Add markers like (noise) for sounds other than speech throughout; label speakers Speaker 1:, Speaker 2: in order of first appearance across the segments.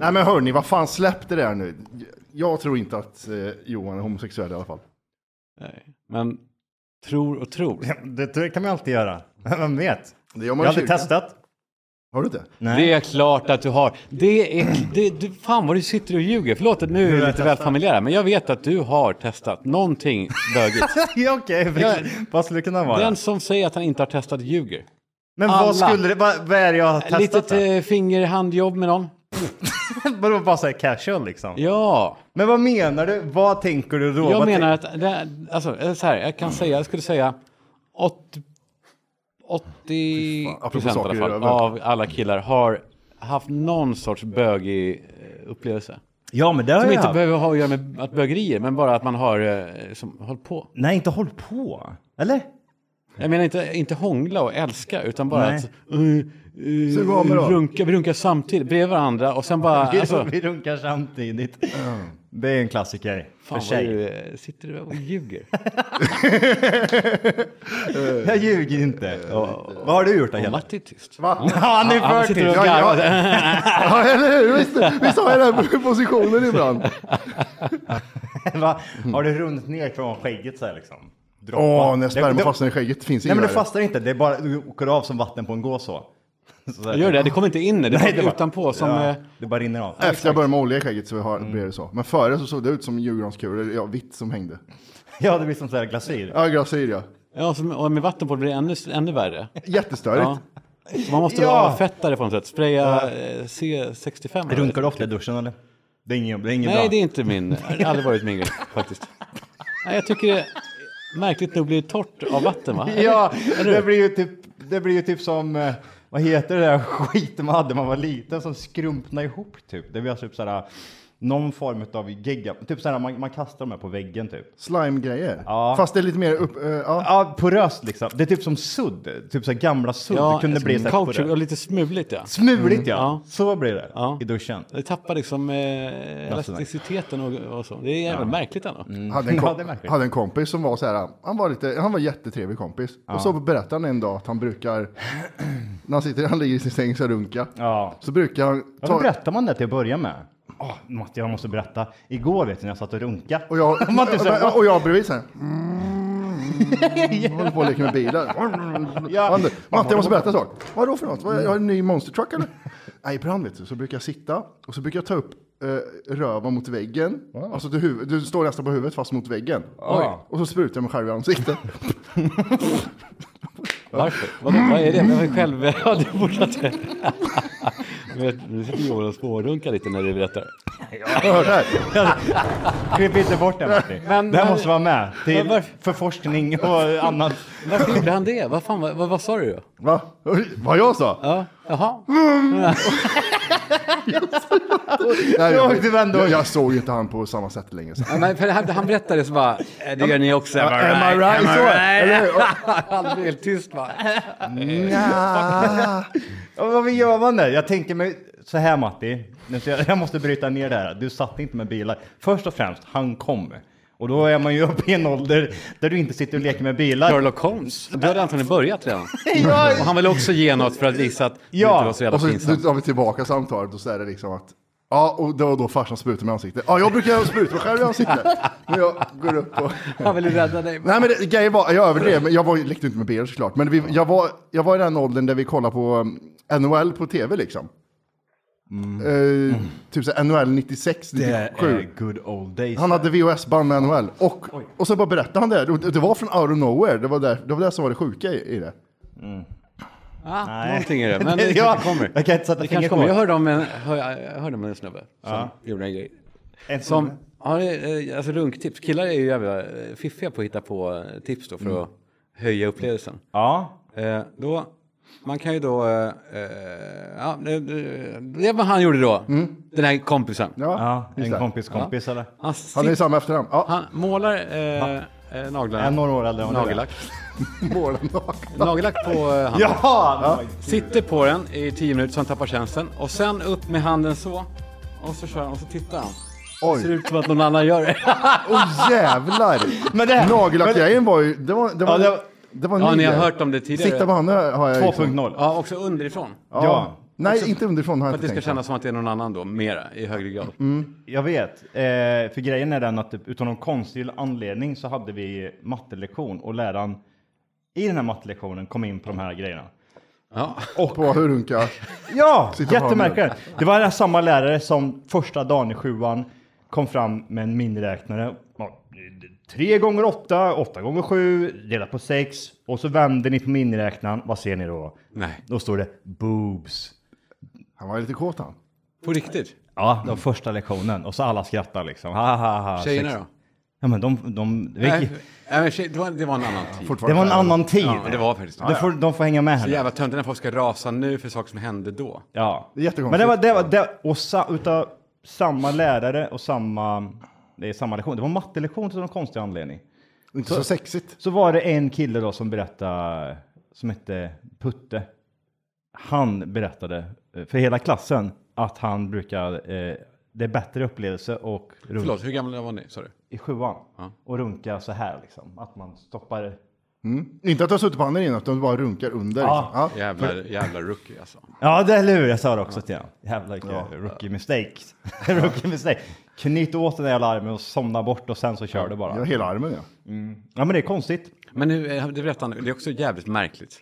Speaker 1: Nej men hörni, vad fan släpp det där nu. Jag tror inte att eh, Johan är homosexuell i alla fall.
Speaker 2: Nej. Men tror och tror.
Speaker 3: (laughs) Det, det kan man alltid göra. (laughs) Vem vet?
Speaker 1: Det gör
Speaker 3: Jag
Speaker 1: man
Speaker 3: har
Speaker 1: i
Speaker 3: aldrig
Speaker 1: kyrkan.
Speaker 3: testat. (laughs)
Speaker 1: Har du inte?
Speaker 2: Det är klart att du har. Det är, det, du, fan vad du sitter och ljuger. Förlåt att nu är vi lite väl familjära. Men jag vet att du har testat någonting bögigt.
Speaker 3: Ja, Okej,
Speaker 2: Ja.
Speaker 3: vad skulle det kunna vara?
Speaker 2: Den som säger att han inte har testat ljuger.
Speaker 3: men
Speaker 2: alla.
Speaker 3: vad skulle det, vad, vad är det jag har testat?
Speaker 2: Litet
Speaker 3: då?
Speaker 2: eh, fingerhandjobb med någon.
Speaker 3: (laughs) Vadå bara så här casual liksom?
Speaker 2: Ja.
Speaker 3: Men vad menar du? Vad tänker du då?
Speaker 2: Jag
Speaker 3: vad
Speaker 2: menar
Speaker 3: tänk-
Speaker 2: att, det, är- alltså eh, så här, jag kan säga, jag skulle säga 80, 80
Speaker 1: fan, apropå
Speaker 2: procent i alla
Speaker 1: saker i
Speaker 2: fall
Speaker 1: röven.
Speaker 2: av alla killar har haft någon sorts bögig eh, upplevelse.
Speaker 3: Ja men det har
Speaker 2: Som
Speaker 3: jag
Speaker 2: inte
Speaker 3: haft.
Speaker 2: behöver ha att göra med att bögerier, men bara att man har eh, som, hållit på.
Speaker 3: Nej inte håll på. Eller?
Speaker 2: Jag menar inte, inte hångla och älska, utan bara
Speaker 3: Nej.
Speaker 2: att uh,
Speaker 1: Sug av med då.
Speaker 2: runka, vi runkar samtidigt, bredvid varandra och sen bara...
Speaker 3: Vi,
Speaker 2: Alltså,
Speaker 3: vi runkar samtidigt. Det är en klassiker.
Speaker 2: fan vad
Speaker 3: för sig.
Speaker 2: du eh, sitter du och
Speaker 3: (laughs)
Speaker 2: ljuger.
Speaker 3: Jag ljuger inte. Vad har du gjort då
Speaker 2: Och
Speaker 3: Hela?
Speaker 2: Matti är tyst.
Speaker 1: Va?
Speaker 3: (laughs) Ja, nu
Speaker 2: Han sitter och
Speaker 1: Ja, ja.
Speaker 2: garvar.
Speaker 1: (laughs) Ja, eller hur? Visst, visst har jag den här positionen
Speaker 3: (laughs)
Speaker 1: ibland?
Speaker 3: Va? Har du runnit ner från skägget så här liksom? Droppa.
Speaker 1: Åh, när
Speaker 3: Det-
Speaker 1: sperman
Speaker 3: det-
Speaker 1: fastnar i skägget finns
Speaker 3: Nej
Speaker 1: inget
Speaker 3: men det
Speaker 1: värre.
Speaker 3: fastnar inte, det är bara, du åker av som vatten på en gås så. (laughs) så där.
Speaker 2: Gör det, det kommer inte in, det är
Speaker 3: Nej,
Speaker 2: bara utanpå som...
Speaker 3: ja,
Speaker 2: eh,
Speaker 3: det bara rinner av. (laughs)
Speaker 1: Efter jag började med olja i skägget så
Speaker 3: Mm.
Speaker 1: har, blev det så. Men före så såg det ut som julgranskulor, ja, vitt som hängde.
Speaker 3: Ja, det blir som så här glasyr.
Speaker 1: Ja, glasyr ja.
Speaker 2: Ja, som, och med vatten på blir det ännu, ännu värre.
Speaker 1: Jättestörigt.
Speaker 3: (laughs)
Speaker 2: Ja. Man måste
Speaker 3: Ja.
Speaker 2: vara avfettare på något sätt. Spraya eh, C65. eller?
Speaker 3: Runkar du ofta i duschen eller? Det är inget, det är inget
Speaker 2: Nej,
Speaker 3: bra.
Speaker 2: det är inte min. Det har aldrig varit min grej faktiskt. Nej, jag tycker det märkligt nog blir torrt av vatten va?
Speaker 3: (laughs) Ja, det blir ju typ, det blir ju typ som, eh, vad heter det där (laughs) skiten man hade när man var liten som skrumpna ihop typ. Det blir alltså typ såhär, någon form av gegga, typ såhär man, man kastar dem här på väggen typ.
Speaker 1: Slime-grejer.
Speaker 3: Ja.
Speaker 1: Fast det är lite mer upp... eh, ja.
Speaker 3: Ja, poröst liksom. Det är typ som sudd, typ såhär gamla sudd.
Speaker 2: Ja,
Speaker 3: det kunde bli såhär
Speaker 2: couch och
Speaker 3: poröst.
Speaker 2: lite smuligt ja.
Speaker 3: Smuligt ja.
Speaker 2: ja.
Speaker 3: så blir det
Speaker 2: Ja.
Speaker 3: i duschen.
Speaker 2: Det tappar liksom eh, elasticiteten och, och så. Det är jävligt märkligt ändå.
Speaker 1: Hade en,
Speaker 3: Mm. Ja, det är
Speaker 1: kom-
Speaker 3: märkligt.
Speaker 1: hade en kompis som var så här, han var, lite, han var jättetrevlig kompis. Och så berättade han en dag att han brukar, när han, sitter, han ligger i sin säng så runka.
Speaker 3: Ja.
Speaker 1: Så brukar han
Speaker 3: Ja, då
Speaker 1: ta...
Speaker 3: berättar man det till att börja med. Åh, Matti, jag måste berätta. Igår vet du när jag satt och runka.
Speaker 1: Och jag,
Speaker 3: (laughs) man typ så här,
Speaker 1: och jag bredvid
Speaker 3: (laughs)
Speaker 1: så här. Mm, håller på och leker med bilar.
Speaker 3: Ja. Mm.
Speaker 1: Matte, jag måste berätta en sak. Vad då för något? Vad, Jag har en ny monster truck eller? Nej, ibland vet du, så brukar jag sitta och så brukar jag ta upp eh, röven mot väggen. Alltså du, huv- du står nästan på huvudet fast mot väggen.
Speaker 3: Ja.
Speaker 1: Och så sprutar jag mig själv i
Speaker 3: (laughs)
Speaker 1: ansiktet.
Speaker 2: Varför? Vad, vad är det? Men själv... (laughs) Ja, du borde ha (laughs) det. Men Nu sitter Johan och spårrunkar lite när du berättar.
Speaker 1: Hör där.
Speaker 3: Klipp inte bort
Speaker 1: (laughs)
Speaker 3: det Matti.
Speaker 2: Men-
Speaker 3: det här
Speaker 2: men-
Speaker 3: måste vara med.
Speaker 2: Men
Speaker 3: Till,
Speaker 2: varför-
Speaker 3: för
Speaker 1: (laughs)
Speaker 3: forskning och annat.
Speaker 2: Varför gjorde han det? Vad, fan, vad, vad, vad sa du? då?
Speaker 1: Va? Vad jag sa?
Speaker 2: Ja, jaha.
Speaker 1: Nej,
Speaker 3: Jag åkte vändor.
Speaker 1: jag, jag såg ju inte han på samma sätt längre. Så.
Speaker 2: Ja, men för han, han berättade det så bara, "Eh, det gör ni också.
Speaker 1: Am
Speaker 2: Am
Speaker 1: I right? Så, eller hur?
Speaker 2: (laughs) Han blev helt tyst bara.
Speaker 1: Nja.
Speaker 3: Ja, men Vad gör man där? Jag tänker mig så här Matti. Nu ska jag- Jag måste bryta ner det här. Du satt inte med bilar. Först och främst, han kom. Och då är man ju uppe i en ålder där du inte sitter och leker med bilar.
Speaker 2: Sherlock Holmes, du hade antagligen börjat redan.
Speaker 3: (laughs) Ja,
Speaker 2: Och han ville också ge något för att visa att det
Speaker 3: Ja,
Speaker 2: inte var så jävla
Speaker 1: Och så
Speaker 2: pinsamt.
Speaker 1: tar vi tillbaka samtalet och så är det liksom att Ja, och då och då farsan sprutar mig i ansiktet. Ja, jag brukar spruta mig själv i ansiktet. När jag går upp och...
Speaker 2: Han ville rädda dig.
Speaker 1: Nej, men det, grejen var, jag överdrev, men jag var, lekte inte med bilar såklart. Men vi, jag, var, jag var i den åldern där vi kollade på um, NHL på tv liksom. Eh, typ så här NHL 96,
Speaker 3: Det
Speaker 1: 97.
Speaker 3: är good old days.
Speaker 1: Han hade VHS-band med NHL. Och, och så bara berättade han det. Det- Det var från out of nowhere. Det var, där, det var det som var det sjuka i, i det.
Speaker 2: Ah,
Speaker 3: Nej.
Speaker 2: någonting är det, men det
Speaker 3: (laughs) Ja,
Speaker 2: kanske kommer.
Speaker 3: jag kan inte sätta
Speaker 2: det
Speaker 3: fingret
Speaker 2: kanske kommer.
Speaker 3: på.
Speaker 2: Jag hörde om en, hör, jag hörde om en snubbe som gjorde en grej.
Speaker 3: En
Speaker 2: Som, ja, det är, eh, alltså runktips. Killar är ju jävla eh, fiffiga på att hitta på eh, tips då för
Speaker 3: Mm.
Speaker 2: att höja upplevelsen.
Speaker 3: Ja.
Speaker 2: Eh, då, man kan ju då... Eh, eh, ja, det, det- det var han gjorde då, den här kompisen.
Speaker 1: Ja,
Speaker 3: Mm. ja.
Speaker 1: just
Speaker 3: En
Speaker 1: det.
Speaker 3: kompis kompis eller?
Speaker 2: Han,
Speaker 1: Han är ju
Speaker 2: sit-
Speaker 1: samma efternamn. Ja,
Speaker 2: han målar eh, eh, naglarna.
Speaker 3: En några år äldre än vad du är.
Speaker 2: Nagellack.
Speaker 3: (laughs)
Speaker 1: målen naken.
Speaker 2: Nagellack på eh, handen.
Speaker 3: Jaha! Ja.
Speaker 2: Sitter på den i tio minuter så han tappar känslan. Och sen upp med handen så. Och så kör han och så tittar han. Det ser
Speaker 1: Oj,
Speaker 2: ut som att någon annan gör
Speaker 3: (laughs)
Speaker 2: det.
Speaker 1: oh, jävlar!
Speaker 3: Men det här-
Speaker 1: Nagellackgrejen var ju... Det var, det var,
Speaker 3: Ja, det var-
Speaker 1: det var
Speaker 2: Ja,
Speaker 1: ny
Speaker 2: ni har
Speaker 1: grej.
Speaker 2: hört om det tidigare.
Speaker 1: Sitta på handen har jag liksom.
Speaker 3: 2.0.
Speaker 2: Ja, också underifrån.
Speaker 3: Ja.
Speaker 1: Nej, inte underifrån har jag
Speaker 2: För att
Speaker 1: inte
Speaker 2: det ska
Speaker 1: tänkt.
Speaker 2: kännas som att det är någon annan då, mera, i högre grad.
Speaker 3: Jag vet, eh, för grejen är den att typ, utan någon konstig anledning så hade vi mattelektion och läraren i den här mattelektionen kom in på de här grejerna.
Speaker 2: Ja.
Speaker 1: På hur runka.
Speaker 3: Ja,
Speaker 1: Sitter på
Speaker 3: jättemärkligt. Det var den här samma lärare som första dagen i sjuan kom fram med en miniräknare. Ja, Tre gånger åtta, åtta gånger sju, delat på sex. Och så vänder ni på miniräknaren. Vad ser ni då?
Speaker 2: Nej,
Speaker 3: Då står det boobs.
Speaker 1: Han var lite kåt han.
Speaker 2: på riktigt.
Speaker 3: Ja, det var första lektionen. Och så alla skrattar liksom. Ha, ha, ha.
Speaker 2: Tjejerna
Speaker 3: Sex-
Speaker 2: då?
Speaker 3: Ja, men de... de
Speaker 2: Nej, nej, men tjej, det, var, det var en annan tid.
Speaker 1: Fortfarande.
Speaker 3: det var en annan tid.
Speaker 2: Ja, det var faktiskt.
Speaker 3: de, får, de får hänga med här
Speaker 2: Så
Speaker 3: nu.
Speaker 2: jävla töntigt när folk ska rasa nu för saker som hände då.
Speaker 3: Ja.
Speaker 1: Det är jättekonstigt.
Speaker 3: Men det var, det var, det, och sa, utav samma lärare och samma, det är samma lektion. Det var mattelektion till någon konstig anledning.
Speaker 1: Inte så, sexigt.
Speaker 3: Så var det en kille då som berättade, som hette Putte. Han berättade eh, för hela klassen att han brukar, eh, det är bättre upplevelse och runka
Speaker 2: Förlåt, hur gamla var ni? Sa du?
Speaker 3: i sjuan.
Speaker 2: Ja.
Speaker 3: Och runka så här liksom, att man stoppar.
Speaker 1: Mm. Inte att du har suttit på handen innan, utan du bara runkar under.
Speaker 3: Ja.
Speaker 1: liksom. Ja.
Speaker 2: Jävla, jävla rookie alltså.
Speaker 3: Ja, det är eller hur? Jag sa det också till honom. Jävla rookie mistake. (laughs) rookie mistake. Knyt åt den där jävla armen och somna bort och sen så kör du bara.
Speaker 1: Ja, hela armen ja.
Speaker 3: Ja, men det är konstigt.
Speaker 2: Men nu, eh, det berättar han, det är också jävligt märkligt.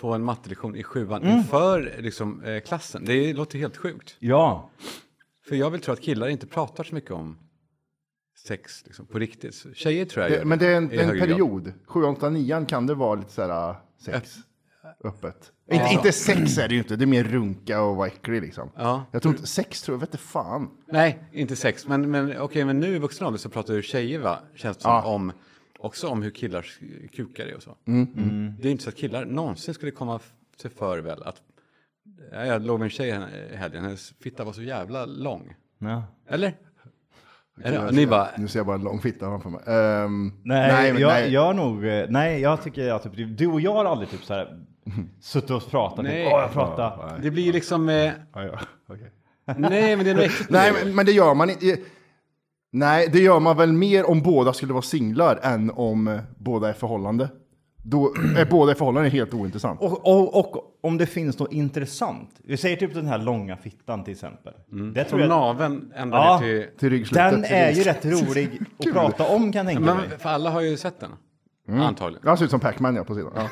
Speaker 2: På en mattelektion i sjuan inför liksom, eh, klassen. Det låter helt sjukt.
Speaker 3: Ja,
Speaker 2: För jag vill tro att killar inte pratar så mycket om sex liksom, på riktigt. Så Tjejer tror jag gör
Speaker 1: Det, Eh, men det är en,
Speaker 2: i
Speaker 1: en
Speaker 2: högre grad.
Speaker 1: period. 7, 8, 9 kan det vara lite så här äh, sex. Öppet. Inte, inte sex är det ju inte, det är mer runka och vara äcklig liksom.
Speaker 2: Ja.
Speaker 1: Jag tror inte, sex tror jag, vet inte fan.
Speaker 2: Nej, inte sex. Men, men okej, men nu i vuxen ålder så pratar ju tjejer, va? Känns det som, om, också om hur killars kukar är och så.
Speaker 1: Mm,
Speaker 2: Det är inte så att killar någonsin skulle komma f- sig för väl att... Ja, Jag låg med en tjej här- i helgen, hennes fitta var så jävla lång.
Speaker 3: Ja.
Speaker 2: Eller? Eller
Speaker 1: Jag
Speaker 2: ni
Speaker 1: ser-
Speaker 2: bara...
Speaker 1: Nu ser jag bara en lång fitta framför mig. Ehm,
Speaker 3: Nej,
Speaker 1: men
Speaker 3: jag,
Speaker 1: nej.
Speaker 3: jag nog, eh, nej, jag tycker att typ, du och jag har aldrig typ så här suttit och pratat. Typ,
Speaker 2: Nej.
Speaker 3: Åh, jag pratar.
Speaker 2: Det blir ju liksom... Eh,
Speaker 1: Ja, ja. okej.
Speaker 2: nej, men det är nog äckligt.
Speaker 1: Nej, men, men det gör man inte. Nej, det gör man väl mer om båda skulle vara singlar än om eh, båda är förhållande. Då är båda i förhållande helt ointressant.
Speaker 3: Och, och, och om det finns något intressant. Vi säger typ den här långa fittan till exempel. Det tror
Speaker 2: Från
Speaker 3: jag,
Speaker 2: naveln ända
Speaker 3: Ja.
Speaker 2: ner till...
Speaker 1: Till ryggslutet.
Speaker 3: den är ju rätt rolig att prata om kan jag tänka mig.
Speaker 2: Men för alla har ju sett den. Antagligen.
Speaker 1: Jag ser ut som Pac-Man ja, på sidan. Ja.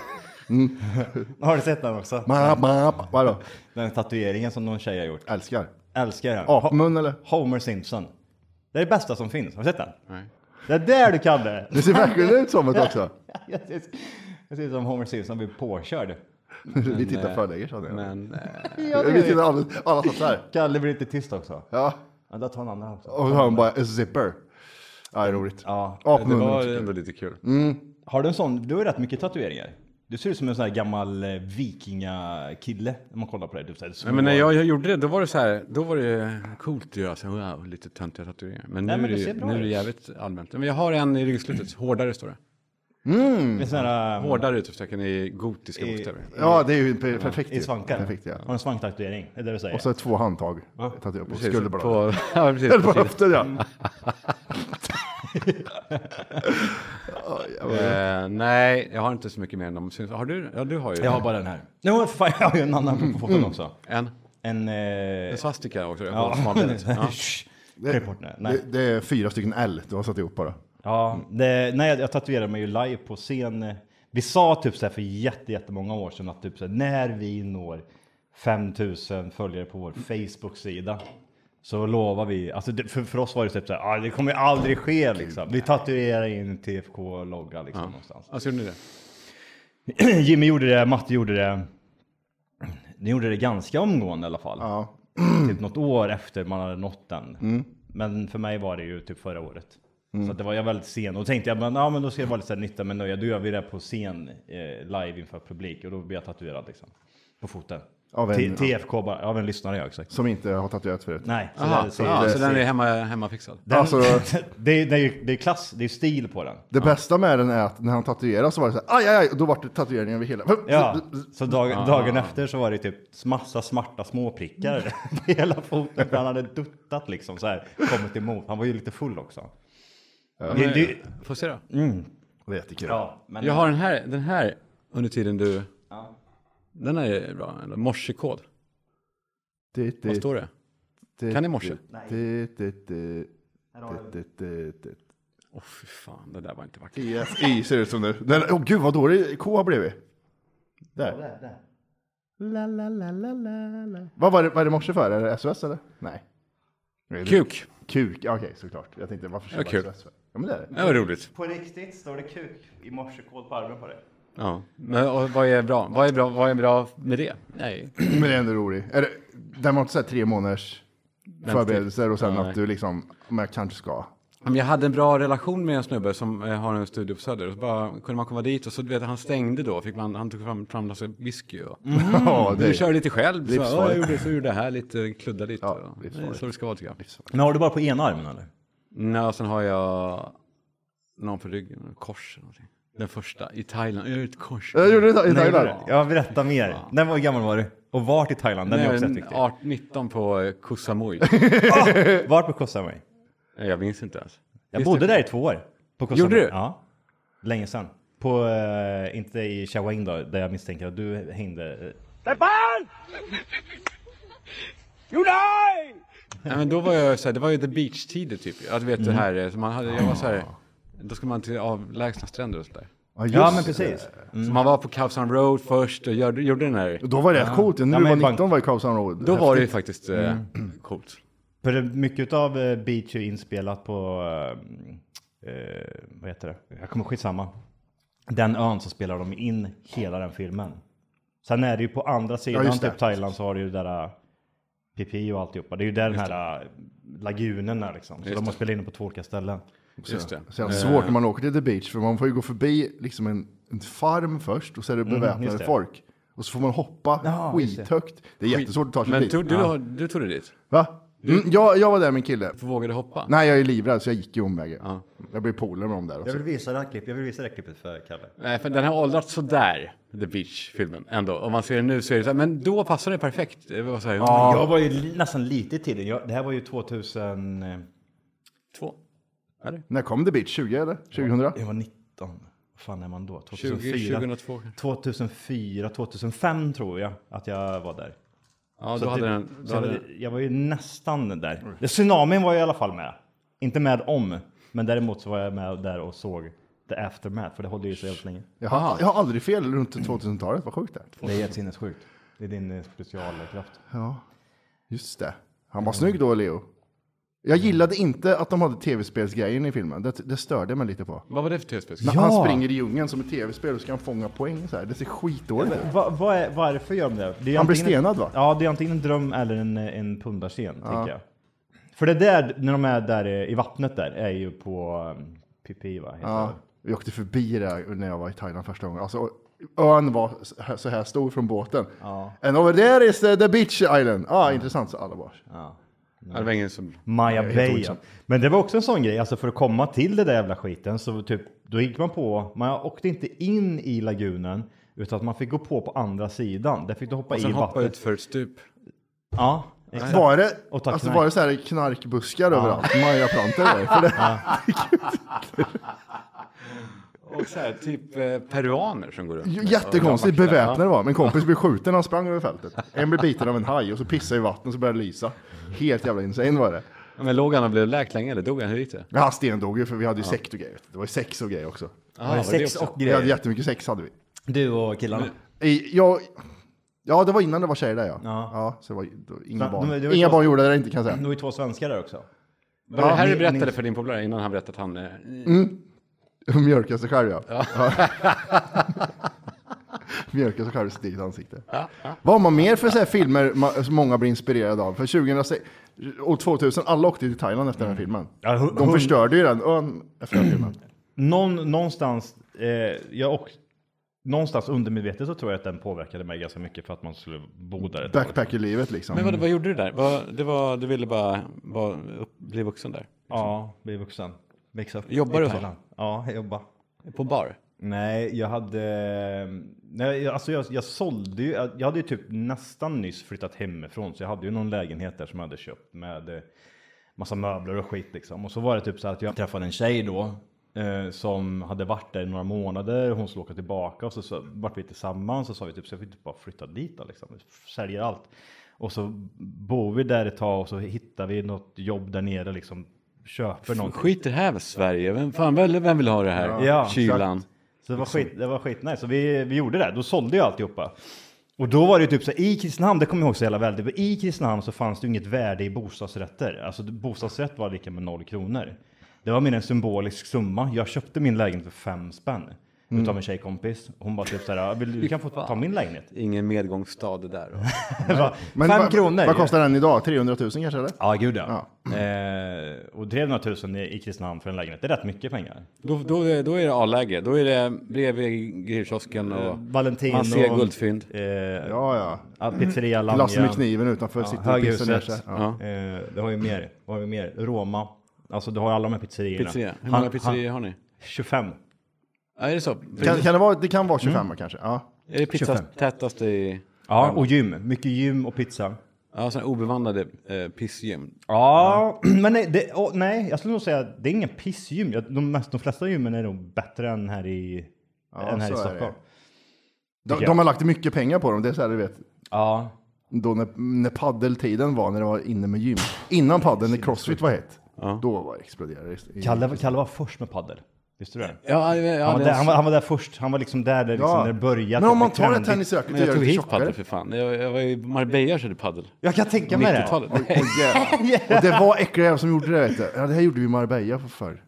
Speaker 3: Har du sett den också?
Speaker 1: Ma, ma, ma. Vadå?
Speaker 3: Den tatueringen som någon tjej har gjort.
Speaker 1: Älskar.
Speaker 3: Älskar den.
Speaker 1: Apmun eller?
Speaker 3: Homer Simpson. Det är det bästa som finns. Har du sett den?
Speaker 2: Nej.
Speaker 3: Det är där du kan det.
Speaker 1: Det ser verkligen ut som det också.
Speaker 3: (laughs) Jag ser, jag ser ut som Homer Simpson blir påkörd.
Speaker 1: Vi tittar för länge känner jag.
Speaker 2: Men... Eh,
Speaker 1: Vi tittar alla, alla satt så här.
Speaker 3: Kalle blir lite tyst också.
Speaker 1: Ja.
Speaker 3: Ja, där tar han andra också.
Speaker 1: Och så har han bara a zipper. Ja, det är roligt.
Speaker 3: Ja.
Speaker 2: det
Speaker 1: Apmunnen.
Speaker 2: var
Speaker 1: också.
Speaker 2: ändå lite kul.
Speaker 3: Har du en sån? Du har ju rätt mycket tatueringar. Du ser ut som en sån här gammal eh, vikingakille när man kollar på dig. Du ser ut som
Speaker 2: Nej, men när
Speaker 3: en-
Speaker 2: jag, jag gjorde det, då var det så här, då var det coolt att göra så här, wow, lite töntiga tatueringar. Men nu,
Speaker 3: Nej, men
Speaker 2: är,
Speaker 3: det
Speaker 2: det,
Speaker 3: ser
Speaker 2: ju-
Speaker 3: bra
Speaker 2: nu är det
Speaker 3: ut.
Speaker 2: jävligt allmänt. Men jag har en i ryggslutet, hårdare står det.
Speaker 3: en sån här, eh,
Speaker 2: Hårdare utropstecken i gotiska bokstäver.
Speaker 1: Ja, det är ju per- perfekt.
Speaker 3: I
Speaker 1: ju.
Speaker 3: svankar.
Speaker 1: Perfekt ja.
Speaker 3: Har en svanktatuering? Det är det du säger?
Speaker 1: Och så två handtag. Tatuerat på
Speaker 2: Precis,
Speaker 1: skulderbladet.
Speaker 2: På, (laughs) ja,
Speaker 1: (laughs)
Speaker 2: precis.
Speaker 1: Eller på
Speaker 2: på sidan.
Speaker 1: höften ja. Ja, jävlar.
Speaker 2: Eh, nej, jag har inte så mycket mer än de syns. Har du? Ja, du har ju
Speaker 3: Jag har bara den här. Jo, men fan, jag har ju en annan på foten
Speaker 2: Mm.
Speaker 3: också.
Speaker 2: en.
Speaker 3: En... eh,
Speaker 2: En svastika också. Ja.
Speaker 3: ja.
Speaker 2: På (laughs) smalbenet.
Speaker 3: (laughs)
Speaker 2: ja.
Speaker 3: Shh,
Speaker 1: Det-
Speaker 3: klipp bort den. Nej.
Speaker 1: Det, det är fyra stycken L du har satt ihop bara.
Speaker 3: Ja, det, nej, jag- jag tatuerade mig ju live på scen. Vi sa typ så här för jätte, jättemånga år sedan att typ så här, när vi når 5000 följare på vår Facebook-sida så lovar vi, alltså det, för, för oss var det typ så här, ah, det kommer ju aldrig ske liksom. Vi tatuerar in TFK-logga liksom någonstans. (clears throat)
Speaker 2: Alltså, gjorde ni det?
Speaker 3: Jimmy gjorde det, Matte gjorde det. Ni gjorde det ganska omgående i alla fall.
Speaker 1: Ja.
Speaker 3: Typ något år efter man hade nått den. Men för mig var det ju typ förra året. Så att det var jag väldigt sen. Och då tänkte jag, men, ja, men då ska det vara lite så här nytta med nöja. Då gör vi det på scen eh, live inför publik. Och då blir jag tatuerad liksom. På foten.
Speaker 1: Av en-
Speaker 3: T- TFK bara, av en lyssnare jag exakt.
Speaker 1: Som inte har tatuerat förut.
Speaker 3: Nej, så
Speaker 2: Aha,
Speaker 3: det,
Speaker 2: så,
Speaker 3: så,
Speaker 2: ja,
Speaker 3: det,
Speaker 2: så den är hemma, hemmafixad.
Speaker 3: den,
Speaker 1: Alltså-
Speaker 3: (laughs) det, är- det, är ju- det är klass, det är stil på den.
Speaker 1: Det bästa med den är att när han tatuerade så var det så här, aj, aj, aj, och då var det tatueringen över hela.
Speaker 3: Ja, så dag, dagen efter så var det typ massa smarta små prickar (laughs) på hela foten. För han hade duttat liksom så här, kommit emot. Han var ju lite full också. Det-
Speaker 2: Men,
Speaker 3: det-
Speaker 2: eh, Får se då.
Speaker 1: Det är jättekul.
Speaker 3: Ja, men
Speaker 2: Jag har den här, den här under tiden du... Den här är bra. eller? Morsekod.
Speaker 1: Det,
Speaker 2: Vad står det? Kan ni morse? Åh, fy fan, det där var inte vackert.
Speaker 1: (laughs) TSI ser det ut som nu. Den, oh, gud vad dålig K har blivit. Där. La, la, la, la, la, la. Vad var det, var det morse för? Är det SOS eller? Nej.
Speaker 2: Kuk!
Speaker 1: Kuk, ja, okej såklart. Jag tänkte varför skulle
Speaker 2: Ja, kul.
Speaker 1: det vara SOS för? Ja men det är det.
Speaker 2: Det var roligt.
Speaker 4: På riktigt står det kuk i morsekod på armen på dig.
Speaker 2: Ja. Men, och vad är bra? Vad är bra? Vad är bra med det? Nej.
Speaker 1: (clears throat) Men det är ändå roligt. Är det, där man inte så här tre månaders förberedelser och sen
Speaker 2: Ja, nej.
Speaker 1: att du liksom, men jag kanske ska.
Speaker 2: (clears throat) Men jag hade en bra relation med en snubbe som eh, har en studio på Söder. Och så bara kunde man komma dit och så du vet han stängde då. Fick man, han tog fram, fram en massa whisky och
Speaker 1: (laughs) Ja, det
Speaker 2: du
Speaker 1: är
Speaker 2: kör lite själv. Så,
Speaker 1: Livsfarligt.
Speaker 2: "Ja, jag gjorde, så gjorde det här lite, kludda lite.
Speaker 1: Ja,
Speaker 2: och, det är
Speaker 1: livsfarligt.
Speaker 2: så det ska vara tycker jag.
Speaker 3: Men har du bara på ena armen eller?
Speaker 2: Nej, och sen har jag någon på ryggen, en kors eller någonting. Den första, i Thailand. Jag gör ett kors.
Speaker 1: Jag gjorde det i
Speaker 3: Nej,
Speaker 1: Thailand.
Speaker 3: det- Ja, berätta mer. När var, hur gammal var du? Och vart i Thailand? Den är också rätt
Speaker 2: Nej,
Speaker 3: viktig.
Speaker 2: 18, 19 på eh,
Speaker 1: (laughs)
Speaker 2: Koh Samui.
Speaker 3: Vart på Koh Samui?
Speaker 2: Nej, jag minns inte ens.
Speaker 3: Jag
Speaker 2: Visst,
Speaker 3: bodde där i två år. På Koh
Speaker 2: Gjorde
Speaker 3: Samui.
Speaker 2: du?
Speaker 3: Ja. Länge sedan. På, eh, inte i Chao Wang då, där jag misstänker att du hängde. eh,
Speaker 2: Nej, men då var jag så här, det var ju the beach-tider typ. Att
Speaker 1: Mm.
Speaker 2: du vet det här, eh, så man hade, jag var så här, då ska man till avlägsna stränder och sådär.
Speaker 1: Ja, just
Speaker 3: Ja, men precis.
Speaker 1: Mm.
Speaker 2: Så man var på Khao San Road först och gjorde, gjorde den här.
Speaker 1: det. Då var det rätt coolt. När
Speaker 3: Ja,
Speaker 1: du
Speaker 3: men
Speaker 1: var
Speaker 3: bara-
Speaker 1: 19 var Mm. ju Khao San Road.
Speaker 2: Då var det ju faktiskt eh, (clears throat) coolt.
Speaker 3: För det- mycket av Beach är inspelat på, eh, eh, vad heter det? Jag kommer skitsamma. Den ön så spelar de in hela den filmen. Sen är det ju på andra sidan
Speaker 1: just det.
Speaker 3: typ Thailand så har du ju det där eh, Pipi och alltihopa. Det är ju där den här eh, lagunen är liksom. Så de har spelat in den på två olika ställen.
Speaker 2: Just det.
Speaker 1: Så jävla svårt när man åker till the beach, för man får ju gå förbi liksom en, en farm först och så är det beväpnade
Speaker 3: just det.
Speaker 1: folk. Och så får man hoppa skithögt. Det är jättesvårt att ta sig
Speaker 2: Men
Speaker 1: dit.
Speaker 2: tog, du, har- du tog det dit?
Speaker 1: Va? Mm, jag, jag var där med en kille.
Speaker 2: Vågade hoppa?
Speaker 1: Nej, jag är livrädd så jag gick ju omvägen. Jag blev polare med dem där. Också.
Speaker 3: vill visa det här klippet, jag vill visa det klippet för Kalle.
Speaker 2: Nej, för den har åldrats sådär, The Beach-filmen, ändå. Om man ser den nu så är det så här, men då passade det perfekt. Det var så här,
Speaker 3: Jag var ju li- nästan lite i tiden. Jag, det här var ju 2000... eh,
Speaker 2: två. Eller?
Speaker 1: När kom the beach? 20 eller? 2000?
Speaker 3: Jag var 19. Vad fan är man då?
Speaker 2: 20,
Speaker 3: 2004?
Speaker 2: 2002 kanske.
Speaker 3: 2004, 2005 tror jag att jag var där.
Speaker 2: Ja, då hade
Speaker 3: det-
Speaker 2: den...
Speaker 3: så
Speaker 2: Då
Speaker 3: jag,
Speaker 2: hade
Speaker 3: var, jag var ju nästan där. Det, tsunamin var jag i alla fall med. Inte med om, men däremot så var jag med där och såg The Aftermath, för det håller ju så jävligt länge.
Speaker 1: Jag, har, jag har aldrig fel runt 2000-talet, vad sjukt det är.
Speaker 3: Det är helt sinnessjukt. Det är din eh, specialkraft.
Speaker 1: Just det. Han var snygg då, Leo. Jag gillade inte att de hade tv-spelsgrejen i filmen. Det, det störde mig lite på.
Speaker 2: vad var det för tv-spel?
Speaker 1: När
Speaker 3: Ja.
Speaker 1: han springer i djungeln som ett tv-spel och ska han fånga poäng så här. Det ser skitdåligt ut.
Speaker 3: Va, vad är, varför gör de det? det är
Speaker 1: Han blir
Speaker 3: antingen-
Speaker 1: stenad, va?
Speaker 3: Ja, det är antingen en dröm eller en, eh, en pundarscen, tänker jag. För det där, när de är där eh, i vattnet där, är ju på um, Pipi, va? Heter
Speaker 1: Ja,
Speaker 3: det.
Speaker 1: vi åkte förbi det här när jag var i Thailand första gången. Alltså, ön var så här- så här stor från båten. And over there is the, the beach island. Ah, Intressant, så alla bara.
Speaker 2: Ja, det var ingen som...
Speaker 3: Maya
Speaker 1: helt
Speaker 3: Bay.
Speaker 1: okänd.
Speaker 3: Men det var också en sån grej, alltså för att komma till det där jävla skiten så typ, då gick man på, man åkte inte in i lagunen utan att man fick gå på på andra sidan. Där fick du hoppa
Speaker 2: Och sen
Speaker 3: i
Speaker 2: hoppa
Speaker 3: vattnet.
Speaker 2: ut för ett stup.
Speaker 3: Ja, exakt.
Speaker 1: Var det,
Speaker 3: Och tack,
Speaker 1: alltså,
Speaker 3: knark.
Speaker 1: var det så här knarkbuskar överallt? Majaplantor där? För det,
Speaker 2: Och så här, typ eh, peruaner som går runt.
Speaker 1: J- Jättekonstigt beväpnade var. Min kompis blev skjuten när han sprang över fältet. En blev biten av en haj och så pissade i vattnet och så började det lysa. Helt jävla insane var det.
Speaker 2: Ja, men låg han och blev läkt länge eller dog han? Hur gick det?
Speaker 1: Men han stendog ju för vi hade ju sekt och grejer. Det var ju sex och grejer också.
Speaker 2: Ah, var
Speaker 3: sex
Speaker 2: också?
Speaker 3: och
Speaker 1: Vi hade
Speaker 3: grejer.
Speaker 1: jättemycket sex hade vi.
Speaker 3: Du och killarna.
Speaker 1: I, jag, ja, det var innan det var tjejer där ja.
Speaker 3: Ja.
Speaker 1: så det var, det var inga
Speaker 3: Men-
Speaker 1: barn.
Speaker 3: men det var
Speaker 1: inga
Speaker 3: så-
Speaker 1: barn gjorde det inte kan jag
Speaker 3: Det
Speaker 1: säga.
Speaker 3: var ju två svenskar där också.
Speaker 2: Var det här du berättade för din polare innan han berättade att han... eh,
Speaker 3: Mm.
Speaker 1: Hon mjölkade sig själv ja. (laughs) mjölkade sig själv i sitt eget ansikte. Vad har man mer för så här, filmer ma- som många blir inspirerade av? För 2006 och 2000, alla åkte till Thailand efter den här filmen.
Speaker 3: Mm. Ja, hu-
Speaker 1: De
Speaker 3: hund-
Speaker 1: förstörde ju den ön efter den här filmen.
Speaker 3: Någon, någonstans, eh, jag och, någonstans undermedvetet så tror jag att den påverkade mig ganska mycket för att man skulle bo där. ett tag.
Speaker 1: Backpackerlivet liksom.
Speaker 2: Men vad, vad gjorde du där? Vad, det var, du ville bara vara, upp, bli vuxen där?
Speaker 3: Ja, bli vuxen. Växa upp.
Speaker 2: Jobbar
Speaker 3: i
Speaker 2: du så?
Speaker 3: Thailand. Ja, jag jobbar.
Speaker 2: På bar?
Speaker 3: Nej, jag hade... Nej, jag- alltså jag, jag sålde ju... Jag hade ju typ nästan nyss flyttat hemifrån, så jag hade ju någon lägenhet där som jag hade köpt med eh, massa möbler och skit liksom. Och så var det typ så här att jag träffade en tjej då eh, som hade varit där i några månader. Hon skulle åka tillbaka och så, så vart vi tillsammans och så sa vi typ så jag vill typ bara flytta dit då liksom. Säljer allt. Och så bor vi där ett tag och så hittar vi något jobb där nere liksom. Köper någonting.
Speaker 2: Skit i det här Sverige, vem, fan, väl- vem vill ha det här?
Speaker 3: Ja,
Speaker 2: Kylan.
Speaker 3: Så det var skit, det var skitnice. Så vi, vi gjorde det, då sålde jag alltihopa. Och då var det typ så här, i Kristinehamn, det kommer jag ihåg så jävla väl, det var- i Kristinehamn så fanns det ju inget värde i bostadsrätter. Alltså bostadsrätt var lika med noll kronor. Det var mer en symbolisk summa. Jag köpte min lägenhet för fem spänn.
Speaker 1: Mm.
Speaker 3: Utav en tjejkompis. Hon bara typ så här, vill, du- du kan få ta min lägenhet.
Speaker 2: Ingen medgångsstad det där.
Speaker 3: (laughs) Jag bara,
Speaker 1: Men
Speaker 3: fem
Speaker 1: vad-
Speaker 3: kronor!
Speaker 1: Vad kostar den idag? 300 000 kanske eller?
Speaker 3: Ja, gud ja. Eh, och 300 000 i i Kristinehamn för en lägenhet, det är rätt mycket pengar.
Speaker 2: (laughs) Då, då, är- då är det A-läge. Då är det bredvid grillkiosken och
Speaker 3: Eh, Valentino.
Speaker 2: man ser guldfynd.
Speaker 3: Eh,
Speaker 1: Ja, ja.
Speaker 3: ja, pizzeria Lamjan.
Speaker 1: Lasse med kniven utanför sitter och pissar ner sig.
Speaker 3: Höghuset.
Speaker 1: Ja.
Speaker 3: Eh, det har ju mer. Vad har vi mer? Roma. Alltså du har alla de här pizzerierna.
Speaker 2: Pizzeria. Hur
Speaker 3: Han-
Speaker 2: många pizzerior har ni?
Speaker 3: Han, 25.
Speaker 2: Ja, är det så?
Speaker 1: Kan, kan det, vara, det kan
Speaker 3: Mm.
Speaker 1: vara 25 kanske. Ja.
Speaker 2: Är det pizza
Speaker 3: 25?
Speaker 2: tätaste i...
Speaker 3: Ja, och gym. Mycket gym och pizza.
Speaker 2: Ja, sådana obevandrade eh, pissgym.
Speaker 3: Ja, (clears throat) men nej, det, åh, nej, jag skulle nog säga att det är ingen pissgym. Jag- De, mest, de flesta gymmen är nog bättre än här i,
Speaker 1: Ja,
Speaker 3: än här i
Speaker 1: så är det.
Speaker 3: Stockholm.
Speaker 1: De,
Speaker 3: jag.
Speaker 1: de har lagt mycket pengar på dem. Det är så här, du vet.
Speaker 3: Ja.
Speaker 1: Då när, när paddeltiden var, när det var inne med gym. Innan paddeln, när crossfit var hett. Då var exploderade det. i-
Speaker 3: Kalle, liksom, Kalle var först med paddel. Visste du det?
Speaker 2: Ja, ja, ja,
Speaker 3: Han var,
Speaker 2: det-
Speaker 3: där, han, var, han var där först. Han var liksom där, där liksom, när det började.
Speaker 1: Men om man
Speaker 3: Det
Speaker 1: tar
Speaker 3: blev
Speaker 1: ett
Speaker 3: trendigt.
Speaker 1: tennisracket och
Speaker 2: Men jag
Speaker 1: gör
Speaker 2: tog
Speaker 1: det
Speaker 2: hit paddel
Speaker 1: tjockare.
Speaker 2: för fan. Jag, jag var i Marbella och körde paddel.
Speaker 3: Jag kan tänka mig det.
Speaker 2: 90-talet. Nej.
Speaker 1: Åh, jävlar. Och det var äckliga jävlar som gjorde det. Vet du. Ja, det här gjorde vi i Marbella för
Speaker 3: (laughs)
Speaker 1: förr.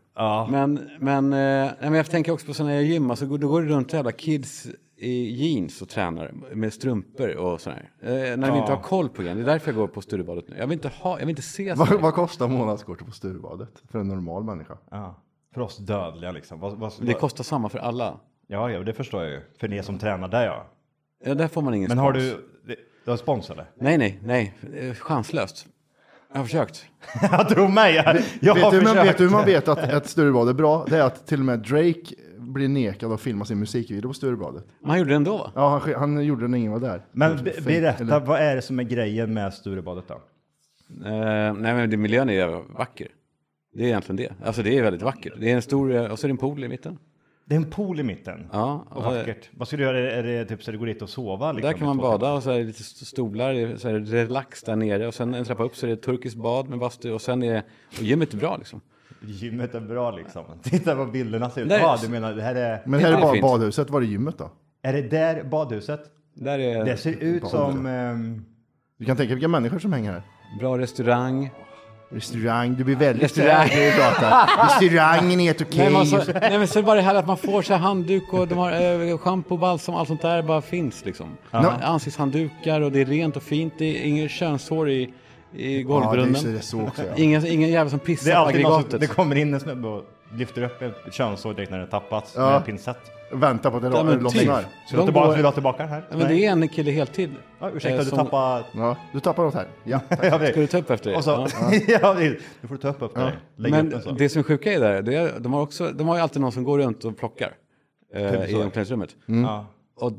Speaker 2: Men, men, eh, nej, men jag tänker också på så när jag gymmar så går, Alltså, då går det runt jävla kids i jeans och tränar med strumpor och sådär. Eh, när vi inte har koll på igen. Det är därför jag går på Sturebadet nu. Jag vill inte, ha, jag vill inte se sådär.
Speaker 1: Vad, vad kostar månadskortet på Sturebadet för en normal
Speaker 3: (laughs)
Speaker 1: människa?
Speaker 3: Ja. För oss dödliga liksom. Vad, vad,
Speaker 2: Det kostar samma för alla.
Speaker 3: Ja, ja, det förstår jag ju. För ni
Speaker 2: Mm.
Speaker 3: som tränar där ja.
Speaker 2: Ja, där får man ingen
Speaker 3: Men har
Speaker 2: spons.
Speaker 3: du, du har spons eller? (laughs)
Speaker 2: Nej, nej, nej. Eh, Chanslöst. Jag har försökt.
Speaker 3: Jag tror mig! Jag, jag
Speaker 1: Vet
Speaker 3: har
Speaker 1: du, hur man,
Speaker 3: försökt.
Speaker 1: vet du hur man vet att ett Sturebad är bra? Det är att till och med Drake blir nekad att filma sin musikvideo på Sturebadet.
Speaker 2: Man gjorde det ändå va?
Speaker 1: Ja, han, sk- han gjorde det när ingen var där.
Speaker 2: Mm,
Speaker 3: Men be,
Speaker 1: Fake,
Speaker 3: berätta,
Speaker 1: eller-
Speaker 3: vad är det som är grejen med Sturebadet då?
Speaker 2: Eh, nej, men det, miljön är ju vacker. Det är egentligen det. Alltså det är väldigt vackert. Det är en stor, eh, och så är det en pool i mitten.
Speaker 3: Det är en pool i mitten.
Speaker 2: Ja, eh,
Speaker 3: Och
Speaker 2: ja, det-
Speaker 3: vackert. Vad ska du göra? Är det- Är det typ så du går dit och sova? Liksom,
Speaker 2: Där kan man
Speaker 3: i två timmar?
Speaker 2: bada och så är det lite st- stolar, så är det relax där nere och sen en trappa upp så är det turkiskt bad med bastu och sen är och gymmet är bra liksom.
Speaker 3: Gymmet är bra liksom. (laughs) Titta vad bilderna ser ut.
Speaker 2: Nej.
Speaker 3: Ja, du menar det här är...
Speaker 1: Men här är
Speaker 2: Det är
Speaker 1: bara
Speaker 2: fint.
Speaker 1: badhuset, var är gymmet då?
Speaker 3: Är det där badhuset?
Speaker 2: Där är
Speaker 3: Det ser ut som... ehm,
Speaker 1: Du kan tänka vilka människor som hänger här.
Speaker 2: bra restaurang.
Speaker 1: Restaurang, du blir väldigt
Speaker 2: Restaurang.
Speaker 1: säker när du pratar. Restaurangen är helt okej.
Speaker 2: Nej, men
Speaker 3: alltså,
Speaker 2: så, nej men så är det bara det här att man får så här handduk och de har eh, shampoo, balsam, allt sånt där bara finns liksom. Ansiktshanddukar och det är rent och fint. Det är inget könshår i, i
Speaker 1: Ja, det är så,
Speaker 2: golvbrunnen.
Speaker 1: det är så också. Ja.
Speaker 2: Ingen, ingen jävel som
Speaker 3: det är
Speaker 2: pissar på
Speaker 3: alltid någon som,
Speaker 2: aggregatet.
Speaker 3: Det kommer in en snubbe och lyfter upp ett könshår direkt när det tappats
Speaker 1: Ja.
Speaker 3: med en pinsett.
Speaker 1: Vänta på att det
Speaker 2: Ja, men
Speaker 1: lo-
Speaker 2: typ.
Speaker 1: lossnar.
Speaker 3: Så du
Speaker 2: De
Speaker 3: tillbaka,
Speaker 2: går-
Speaker 3: vill du ha tillbaka den här?
Speaker 2: Ja, men det är en kille heltid.
Speaker 3: ja,
Speaker 2: eh,
Speaker 3: ursäkta, du
Speaker 2: som-
Speaker 3: tappade...
Speaker 1: Ja, du tappar något här. Ja, tack.
Speaker 3: (laughs) Ja, precis.
Speaker 2: Ska du ta upp efter det?
Speaker 3: Och så,
Speaker 2: Ja.
Speaker 3: (laughs) ja, precis. du får ta upp upp dig. Lägg upp den så.
Speaker 2: Men det som är sjuka är där, det är, de, har också, de har ju alltid någon som går runt och plockar eh,
Speaker 3: Typ
Speaker 2: i omklädningsrummet.
Speaker 3: Ja.
Speaker 2: Och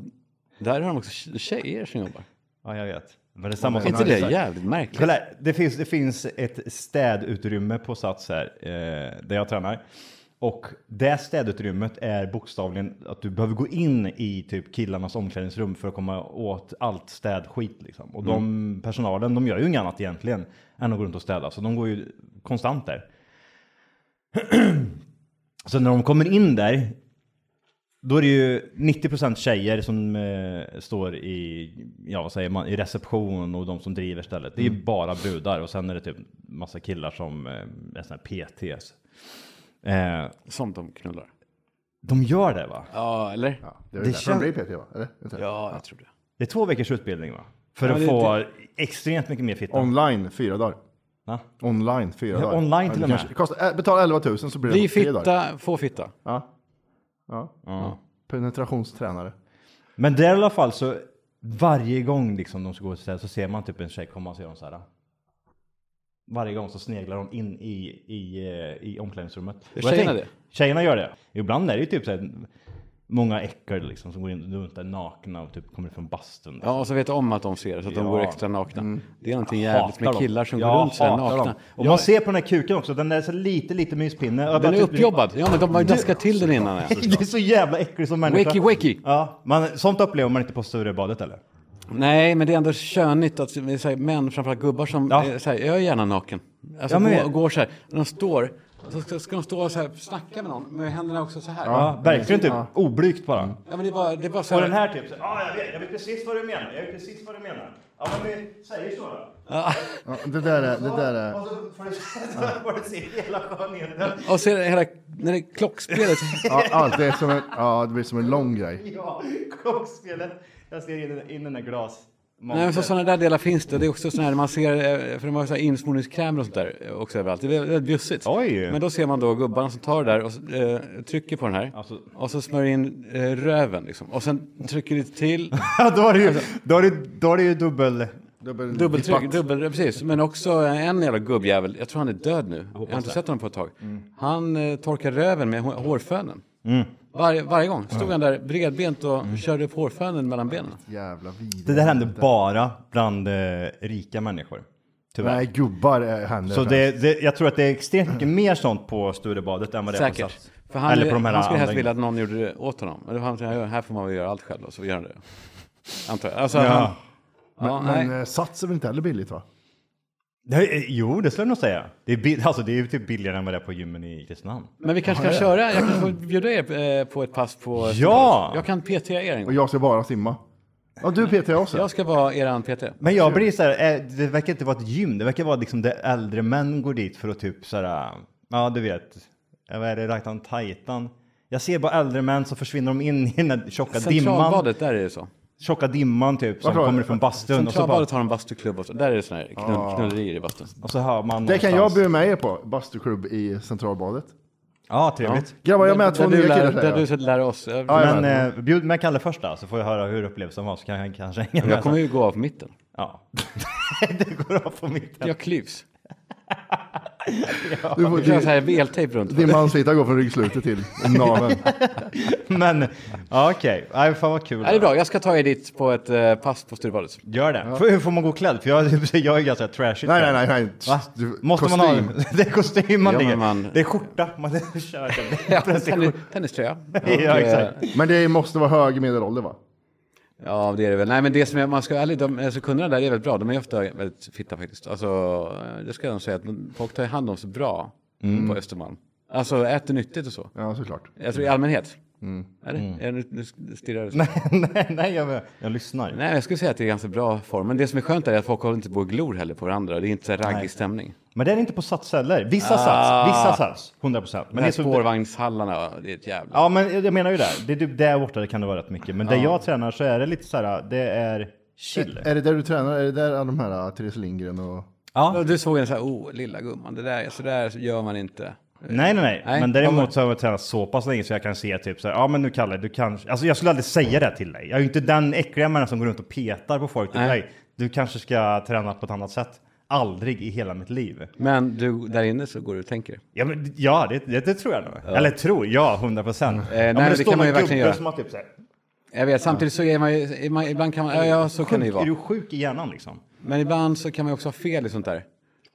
Speaker 2: där har de också tje- tjejer som jobbar.
Speaker 3: ja, jag vet. Men det är samma
Speaker 2: Är
Speaker 3: som...
Speaker 2: inte det jävligt märkligt?
Speaker 3: Kolla, här. det finns, det finns ett städutrymme på Sats här, eh, där jag tränar. Och det städutrymmet är bokstavligen att du behöver gå in i typ killarnas omklädningsrum för att komma åt allt städskit liksom. Och de personalen, de gör ju inget annat egentligen än att gå runt och städa, så de går ju konstant där. (clears throat) Så när de kommer in där, då är det ju 90% tjejer som eh, står i, ja vad säger man, i reception och de som driver stället. Det är ju
Speaker 2: Mm.
Speaker 3: bara brudar och sen är det typ massa killar som eh, är såna här PTs. Eh,
Speaker 2: Som de knullar.
Speaker 3: de gör det va?
Speaker 2: Ja, eller? Ja,
Speaker 1: Det är väl därför
Speaker 3: känns-
Speaker 1: de blir PT va? Eller? Vänta.
Speaker 2: jag tror det.
Speaker 3: Det är två veckors utbildning va? För
Speaker 2: Ja,
Speaker 3: att
Speaker 2: det-
Speaker 3: få extremt mycket mer fitta.
Speaker 1: Online, fyra dagar.
Speaker 3: Va?
Speaker 1: Online, fyra
Speaker 3: Ja,
Speaker 1: dagar.
Speaker 3: online
Speaker 1: Ja,
Speaker 3: till
Speaker 1: det
Speaker 3: och med.
Speaker 1: kanske- Kostar, äh, betala 11 000 så blir det
Speaker 2: Bli
Speaker 1: tre dagar.
Speaker 2: fitta, få fitta.
Speaker 1: Ja. Ja. Penetrationstränare.
Speaker 3: Men där i alla fall så varje gång liksom de ska gå till stället så ser man typ en tjej komma och så gör de så här. Varje gång så sneglar de in i, i, eh, i omklädningsrummet. Och jag
Speaker 2: tjejerna
Speaker 3: tänk- Tjejerna gör det. Ibland är det ju typ så här, många äckor liksom som går in runt där nakna och typ kommer från bastun.
Speaker 2: Ja, och så vet om att de ser det, så att de
Speaker 3: Ja. Mm.
Speaker 2: går extra nakna. Det är någonting
Speaker 3: Jag
Speaker 2: jävligt med
Speaker 3: hatar dem.
Speaker 2: killar som
Speaker 3: Jag
Speaker 2: går runt så här
Speaker 3: hatar dem.
Speaker 2: nakna.
Speaker 3: Och man ser på den här kuken också, den är så lite, lite myspinne. Och jag
Speaker 2: Den
Speaker 3: bara
Speaker 2: är
Speaker 3: typ- (laughs)
Speaker 2: uppjobbad. Ja, men de har ju daskat till den innan. ja.
Speaker 3: Det är så jävla äckligt som människa.
Speaker 2: Wakey, wakey.
Speaker 3: Ja, man, sånt upplever man inte på Sturebadet eller?
Speaker 2: Nej, men det är ändå königt att vi säger män, framförallt gubbar, som
Speaker 3: Ja.
Speaker 2: är, så här, jag är gärna naken. Alltså
Speaker 3: Ja, men-
Speaker 2: går, går så här, och de står, och så ska, ska de stå och så här, snacka med någon, med händerna också så här.
Speaker 3: Ja, verkligen typ oblygt bara.
Speaker 2: Ja, men det var, det var så
Speaker 3: Och
Speaker 2: här,
Speaker 3: den här typ, så- ja jag vet, jag vet precis vad du menar, jag vet precis vad du menar. Ja men vi säger så då.
Speaker 1: Ja, det där är... Det där är...
Speaker 3: Och så får du, (laughs) så får du se hela skönheten.
Speaker 2: och så är det hela, när det är
Speaker 3: (laughs)
Speaker 2: klockspelet,
Speaker 1: Ja, allt är som en, ja, det blir som en lång grej.
Speaker 3: Ja, klockspelet. Jag ser in, in den där glas...
Speaker 2: nej men så sådana där delar finns det, det är också sådana här, man ser, eh, för de har så här insmorningskrämer och sånt där eh, också överallt, det är väldigt väldigt bjussigt.
Speaker 3: Oj.
Speaker 2: Men då ser man då gubbarna som tar det där och eh, trycker på den här,
Speaker 3: Alltså-
Speaker 2: och så smörjer in eh, röven liksom, och sen trycker lite
Speaker 3: (laughs)
Speaker 2: till,
Speaker 3: (laughs) Ja, då har du ju,
Speaker 2: Alltså-
Speaker 3: då har du, då har du ju dubbel...
Speaker 1: Dubbel-
Speaker 2: Dubbeltryck, dubbel, precis. Men också en jävla gubbjävel, jag tror han är död nu. Jag, har inte sett honom på ett tag.
Speaker 3: Mm.
Speaker 2: Han eh, torkar röven med hå- hårfönen. Varje- varje gång stod han där bredbent och
Speaker 3: Mm.
Speaker 2: körde upp hårfönen mellan benen.
Speaker 1: Jävla vidrigt.
Speaker 3: Det där händer bara bland eh, rika människor. Tyvärr.
Speaker 1: Nej, gubbar är- händer.
Speaker 3: Så det, det, jag tror att det är extremt mycket mer sånt på Sturebadet än vad det är på
Speaker 2: Säkert.
Speaker 3: Sats.
Speaker 2: För han,
Speaker 3: Eller på de här
Speaker 2: han skulle helst
Speaker 3: andra-
Speaker 2: vilja att någon gjorde det åt honom. Men det var han som, "Ja, här får man väl göra allt själv och så gör han det. Antar jag. Alltså, han,
Speaker 3: Ja.
Speaker 2: ja, nej.
Speaker 1: Men eh, sats är väl inte heller billigt va?
Speaker 3: Det, är- jo, det skulle jag nog säga. Det är, bil- (laughs) alltså, det är ju typ billigare än vad det är på gymmen i Kristinehamn.
Speaker 2: men vi kanske kan köra, jag kanske får bjuda er eh, på ett pass på...
Speaker 3: Ja!
Speaker 2: Jag kan PT er en
Speaker 1: Och
Speaker 2: gång.
Speaker 1: jag ska bara simma. Ja, du PT också.
Speaker 2: Jag ska vara eran PT.
Speaker 3: Men jag blir så här, eh, det verkar inte vara ett gym, det verkar vara liksom det äldre män går dit för att typ så här, ja du vet, eh, vad är det, Ragnar Titan? Jag ser bara äldre män så försvinner de in i den där tjocka dimman,
Speaker 2: Centralbadet, där är det så.
Speaker 3: tjocka dimman typ som
Speaker 1: Varför?
Speaker 3: kommer från bastun och så, bara,
Speaker 2: Centralbadet har en bastuklubb och så. Där är det såna här knull, knullerier i bastun.
Speaker 3: och så hör man
Speaker 1: Det kan jag
Speaker 3: någonstans.
Speaker 1: bjuda med er på. Bastuklubb i Centralbadet.
Speaker 3: Ja, trevligt.
Speaker 1: Grabbar, jag är med två
Speaker 2: där
Speaker 1: nya
Speaker 2: du lär,
Speaker 1: killar.
Speaker 2: Där
Speaker 1: säger
Speaker 2: du
Speaker 1: jag.
Speaker 2: så lär oss. Jag,
Speaker 1: Ja,
Speaker 3: Men
Speaker 1: jajamän.
Speaker 3: eh, bjud med Kalle först då, så får jag höra hur upplevelsen var så kan jag kanske hänga med.
Speaker 2: jag kommer
Speaker 3: sen.
Speaker 2: ju gå av på mitten.
Speaker 3: Ja. (laughs) det går av på mitten.
Speaker 2: Jag klyvs.
Speaker 1: Du får-
Speaker 2: Jag kör så
Speaker 1: din-
Speaker 2: här veltejp runt.
Speaker 1: Din mansvita går från ryggslutet till naveln.
Speaker 3: (laughs) Men ja, okej, okay. fan vad kul.
Speaker 2: Ja, det är bra, jag ska ta er dit på ett eh, pass på Sturebadet.
Speaker 3: Gör det. För, hur får man gå klädd? För jag, jag är ganska trashigt
Speaker 1: Nej, nej,
Speaker 3: klädd.
Speaker 1: nej. nej.
Speaker 3: Va?
Speaker 1: Du-
Speaker 3: Måste man
Speaker 1: kostym.
Speaker 3: ha? (laughs) Det är kostym man
Speaker 2: Ja, men
Speaker 3: ligger.
Speaker 2: man-
Speaker 3: Det är skjorta man (laughs) kör. Det är
Speaker 2: Ja,
Speaker 3: plötsligt
Speaker 2: tennis,
Speaker 3: skjorta.
Speaker 2: tenniströja. eh,
Speaker 3: Ja, exakt.
Speaker 1: Men det måste vara hög medelålder va?
Speaker 2: Ja, det är det väl. Nej, men det som är, man ska vara ärlig, de, alltså, kunderna där är väldigt bra. De är ofta väldigt fitta faktiskt. Alltså, eh, det ska jag nog säga, att folk tar hand om sig bra på Östermalm. Alltså äter nyttigt och så.
Speaker 1: Ja, såklart.
Speaker 2: Jag tror i allmänhet. Är det? Är det, nu stirrar du så.
Speaker 3: nej, nej, jag, jag lyssnar.
Speaker 2: Nej, jag skulle säga att det är ganska bra form. Men det som är skönt är att folk håller inte på och glor heller på varandra. Det är inte så här raggig stämning.
Speaker 3: Men det är inte på sats heller. Vissa
Speaker 2: Ah.
Speaker 3: sats, vissa sats. 100 procent. Men
Speaker 2: Men
Speaker 3: det är så...
Speaker 2: spårvagnshallarna, det är ett jävla...
Speaker 3: Ja, men jag menar ju det. Det är typ där borta det kan det vara rätt mycket. Men där jag tränar så är det lite så här, det är chill.
Speaker 1: Är det där du tränar? Är det där alla de här äh, Therese Lindgren och...
Speaker 2: Och Du såg en så här, oh, lilla gumman, det där, så där gör man inte.
Speaker 3: Nej, nej, nej.
Speaker 2: Nej,
Speaker 3: Men däremot så har jag tränat så pass länge så jag kan se typ så här, ja men nu Kalle, du kanske, alltså jag skulle aldrig säga det till dig. Jag är ju inte den äckliga människan som går runt och petar på folk. Typ,
Speaker 2: Nej.
Speaker 3: nej, du kanske ska träna på ett annat sätt. Aldrig i hela mitt liv.
Speaker 2: Men du, där inne så går du och tänker.
Speaker 3: Ja, men, ja det, det, det tror jag nog. Eller tror, ja, 100 procent.
Speaker 2: Eh, nej, men det kan man ju verkligen göra.
Speaker 3: Som har typ så här,
Speaker 2: Jag vet, samtidigt så är man ju, är man, ibland kan man, ja, ja så kan det ju
Speaker 3: sjuk, är du
Speaker 2: vara.
Speaker 3: sjuk i hjärnan liksom?
Speaker 2: Men ibland så kan man ju också ha fel i sånt där.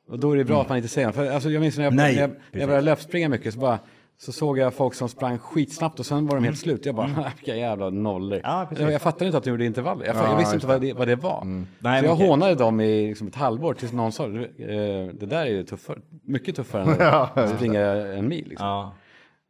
Speaker 2: Och då är det bra att man inte säger något. För alltså, jag minns när jag,
Speaker 3: Nej,
Speaker 2: när jag, när
Speaker 3: precis.
Speaker 2: jag började löpspringa mycket så bara, så såg jag folk som sprang skitsnabbt och sen var de helt slut. Jag bara, (laughs) vilka jävla nollor.
Speaker 3: Ja, precis. Mm.
Speaker 2: jag, jag fattade inte att de gjorde intervaller. Jag, fatt- jag visste inte vad det, vad det var.
Speaker 3: Nej,
Speaker 2: så
Speaker 3: men
Speaker 2: jag
Speaker 3: okej.
Speaker 2: hånade dem i liksom, ett halvår tills någon sa, "Du, eh, det där är ju tuffare, mycket tuffare
Speaker 3: (laughs)
Speaker 2: än
Speaker 1: Ja,
Speaker 2: att springa en mil. Liksom.
Speaker 3: Ja.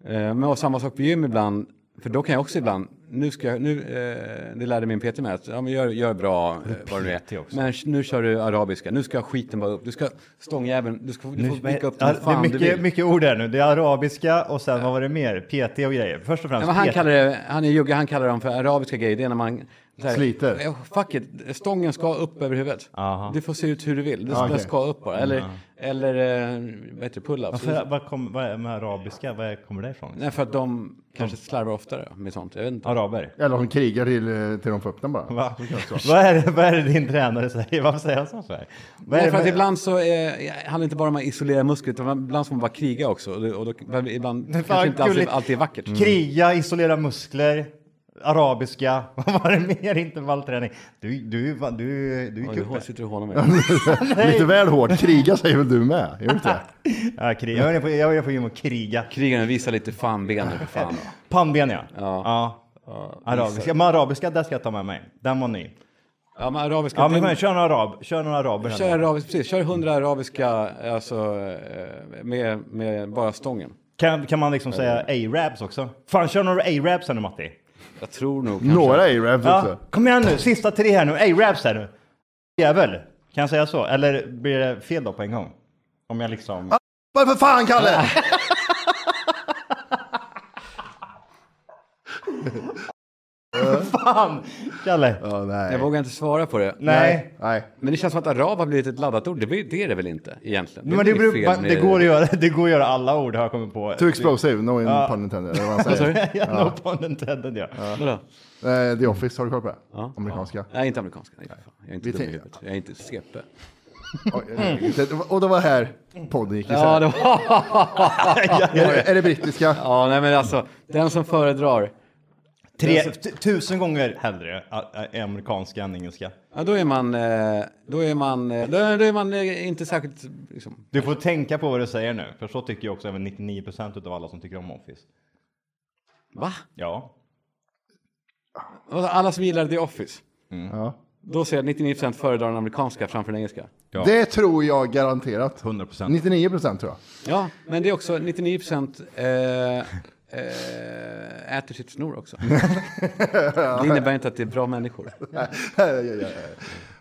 Speaker 2: Eh, Men och samma sak på gym ibland, för då kan jag också ibland, nu ska jag, nu, eh, det lärde min PT med, att ja, men gör, gör bra eh, vad det
Speaker 3: PT
Speaker 2: nu är.
Speaker 3: också.
Speaker 2: Men nu kör du arabiska, nu ska skiten vara upp, du ska stångjäveln, du, ska, du får vicka upp
Speaker 3: Ja,
Speaker 2: den
Speaker 3: det är
Speaker 2: fan du
Speaker 3: mycket,
Speaker 2: vill.
Speaker 3: mycket ord där nu. Det är arabiska och sen vad var det mer? PT och grejer. Först och
Speaker 2: Ja,
Speaker 3: främst
Speaker 2: men han
Speaker 3: PT.
Speaker 2: kallar det, han är jugge, han kallar dem för arabiska grejer, det är när man så här,
Speaker 1: Sliter.
Speaker 2: eh, Fuck it, stången ska upp över huvudet.
Speaker 3: Aha.
Speaker 2: Du får se ut hur du vill, du
Speaker 1: Ja, okej.
Speaker 2: ska upp bara. Eller, eller eh, vad heter det, pull-ups.
Speaker 3: Varför, vad, kom, vad är med arabiska? Var kommer det ifrån?
Speaker 2: Nej, för att de kanske slarvar oftare med sånt, jag vet inte.
Speaker 3: Araber?
Speaker 1: Eller de krigar till, eh, till de får upp den bara.
Speaker 3: Va? Vad, är det, vad är det din tränare säger? Varför säger han så här? Vad är
Speaker 2: Nej, för
Speaker 3: det,
Speaker 2: att ibland så är, handlar det inte bara om att isolera muskler, utan ibland får man bara kriga också. Och, det- och då, men ibland kanske inte alltid,
Speaker 3: gulligt.
Speaker 2: alltid är vackert. Mm.
Speaker 3: Kriga, isolera muskler, arabiska, (laughs) vad var det mer? Intervallträning. Du, du, va- du, du
Speaker 2: Oj,
Speaker 3: gick
Speaker 2: du
Speaker 3: upp (laughs)
Speaker 2: hår-
Speaker 3: där.
Speaker 2: sitter och hånar mig.
Speaker 1: Lite väl hårt. Kriga säger väl du med? Gör du
Speaker 3: (laughs)
Speaker 1: inte det?
Speaker 3: Ja, kriga. Jag är på, jag är på gym och kriga.
Speaker 2: Krigarna visar lite fanben nu för fan.
Speaker 3: Pannben ja.
Speaker 2: Ja.
Speaker 3: ja. Arabiska. Men arabiska, där ska jag ta med mig. Den var ny.
Speaker 2: Ja, men arabiska...
Speaker 3: Ja men fan, kör några arab, kör några araber här
Speaker 2: Kör
Speaker 3: nu.
Speaker 2: arabisk, precis. Kör 100 arabiska, alltså eh, med, med bara stången.
Speaker 3: kan, kan man liksom säga arabs också? Fan kör några arabs här nu Matti.
Speaker 2: Jag tror nog kanske...
Speaker 1: Några arabs
Speaker 3: Ja,
Speaker 1: också.
Speaker 3: kom igen nu, sista tre här nu, arabs här nu. Jävel, kan jag säga så? Eller blir det fel då på en gång? Om jag liksom...
Speaker 1: Vad för fan Kalle!
Speaker 3: Fan! Kalle.
Speaker 1: Ja,
Speaker 2: Jag
Speaker 1: nej.
Speaker 2: vågar inte svara på det.
Speaker 3: Nej.
Speaker 1: nej.
Speaker 2: Men det känns som att arab har blivit ett laddat ord. Det, blir, det är det väl inte egentligen?
Speaker 3: Men det,
Speaker 2: är
Speaker 3: beror,
Speaker 2: inget
Speaker 3: man,
Speaker 2: fel
Speaker 3: det,
Speaker 2: med-
Speaker 3: går att göra, det går att göra alla ord har jag kommit på.
Speaker 1: Too explosive, no pun intended. eller vad man
Speaker 2: Vad sa
Speaker 1: säger.
Speaker 2: du?
Speaker 3: (laughs) ja. No pun intended ja.
Speaker 2: Vadå?
Speaker 1: Eh, The Office, har du koll på det? Amerikanska.
Speaker 2: Nej, inte amerikanska. Nej, fan. Jag är inte
Speaker 1: Vi
Speaker 2: dum i
Speaker 1: tänker-
Speaker 2: huvudet. Jag är inte CP.
Speaker 1: Oj, det- Och det var här podden gick
Speaker 2: Ja,
Speaker 1: isär.
Speaker 2: det var...
Speaker 1: Är det- Är det brittiska?
Speaker 2: ja, nej men alltså. Den som föredrar.
Speaker 3: Tre, t- tusen gånger hellre ä- ä- amerikanska än engelska.
Speaker 2: Ja, då är man... eh, Då är man... eh, Då är då är man eh, inte särskilt... Liksom,
Speaker 3: Du får tänka på vad du säger nu, för så tycker jag också även 99% av alla som tycker om Office.
Speaker 2: va?
Speaker 3: Ja.
Speaker 2: Och Alla som gillar The Office.
Speaker 1: Ja.
Speaker 2: Då ser jag 99% föredrar den amerikanska framför den engelska.
Speaker 3: Ja.
Speaker 1: Det tror jag garanterat.
Speaker 3: 100%.
Speaker 1: 99 procent tror jag.
Speaker 2: Ja, men det är också 99% eh, eh, äter sitt snor också. Det innebär inte att det är bra människor.
Speaker 1: Ja, ja, ja, ja.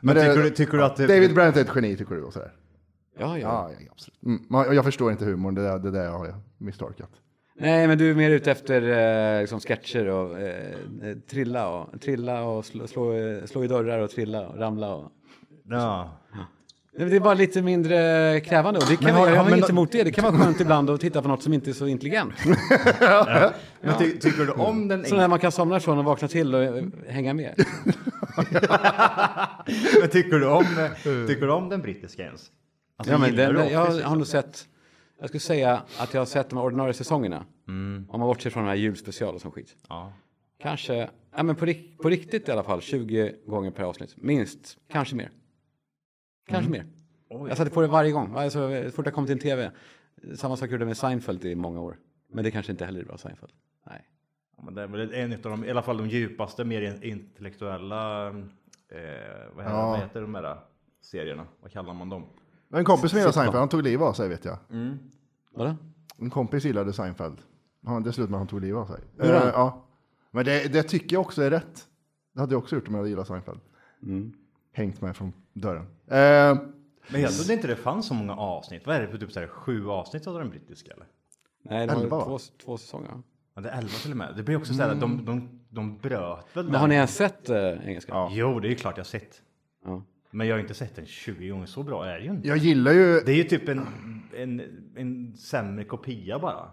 Speaker 3: Men
Speaker 1: det-
Speaker 3: tycker, du, tycker du att... det-
Speaker 1: David Brent är ett geni tycker du? Och sådär.
Speaker 2: Ja, ja.
Speaker 1: Ja, ja, absolut. Mm. men Jag förstår inte humorn, det där, det där har jag misstolkat.
Speaker 2: Nej, men du är mer ute efter eh, liksom sketcher och eh, eh, trilla och, trilla och slå, slå, eh, slå i dörrar och trilla och ramla. Och.
Speaker 3: Ja.
Speaker 2: Nej, men Det är bara lite mindre krävande. Och det kan,
Speaker 3: Men har-
Speaker 2: vara- jag
Speaker 3: har-
Speaker 2: har
Speaker 3: men-
Speaker 2: inget emot det. Det kan vara skönt ibland att titta på något som inte är så intelligent.
Speaker 3: Men ty, tycker du om (laughs) den
Speaker 2: Så när man kan somna ifrån och vakna till och eh, hänga med.
Speaker 3: Men tycker du om, tycker du om den brittiska ens? Alltså,
Speaker 2: Ja, men
Speaker 3: gillar
Speaker 2: den,
Speaker 3: du
Speaker 2: jag
Speaker 3: Office,
Speaker 2: har nog sett, jag skulle säga att jag har sett de här ordinarie säsongerna.
Speaker 3: Mm.
Speaker 2: Om man bortser från de här julspecial och sån skit.
Speaker 3: Ja.
Speaker 2: Kanske, ja men på, rik- på riktigt i alla fall, 20 gånger per avsnitt. Minst, kanske mer. Kanske
Speaker 3: Mm.
Speaker 2: mer. Jag satte på det varje gång, alltså, så fort jag kom till en tv. Samma sak gjorde jag med Seinfeld i många år. Men det kanske inte heller är bra Seinfeld. Nej.
Speaker 3: Ja, men det är väl en av de, i alla fall de djupaste, mer in- intellektuella, eh, vad, heter,
Speaker 1: Ja.
Speaker 3: vad heter de där serierna? Vad kallar man dem?
Speaker 1: Det var En kompis som gillade Seinfeld, han tog livet av sig vet jag.
Speaker 2: Vadå?
Speaker 1: En kompis gillade Seinfeld. Han, det slutade med att han tog livet av sig.
Speaker 2: Gjorde
Speaker 1: Eh,
Speaker 2: han?
Speaker 1: ja. Men det, det tycker jag också är rätt. Det hade jag också gjort om jag hade gillat Seinfeld.
Speaker 2: Mm.
Speaker 1: Hängt mig från dörren. Eh,
Speaker 3: Men jag trodde inte det fanns så många avsnitt. Vad är det för typ så här, sju avsnitt av den brittiska eller?
Speaker 2: Nej, det var
Speaker 1: Elva, va?
Speaker 2: två, två säsonger.
Speaker 3: Ja, det är elva till och med. Det blir också så här, de, de, de bröt väl
Speaker 2: Mm. Men har ni ens sett eh, engelska?
Speaker 1: Ja.
Speaker 3: Jo, det är ju klart jag har sett.
Speaker 2: Ja.
Speaker 3: Men jag har inte sett den 20 gånger. Så bra är det ju inte.
Speaker 1: jag gillar ju...
Speaker 3: Det är ju typ en, en, en sämre kopia bara.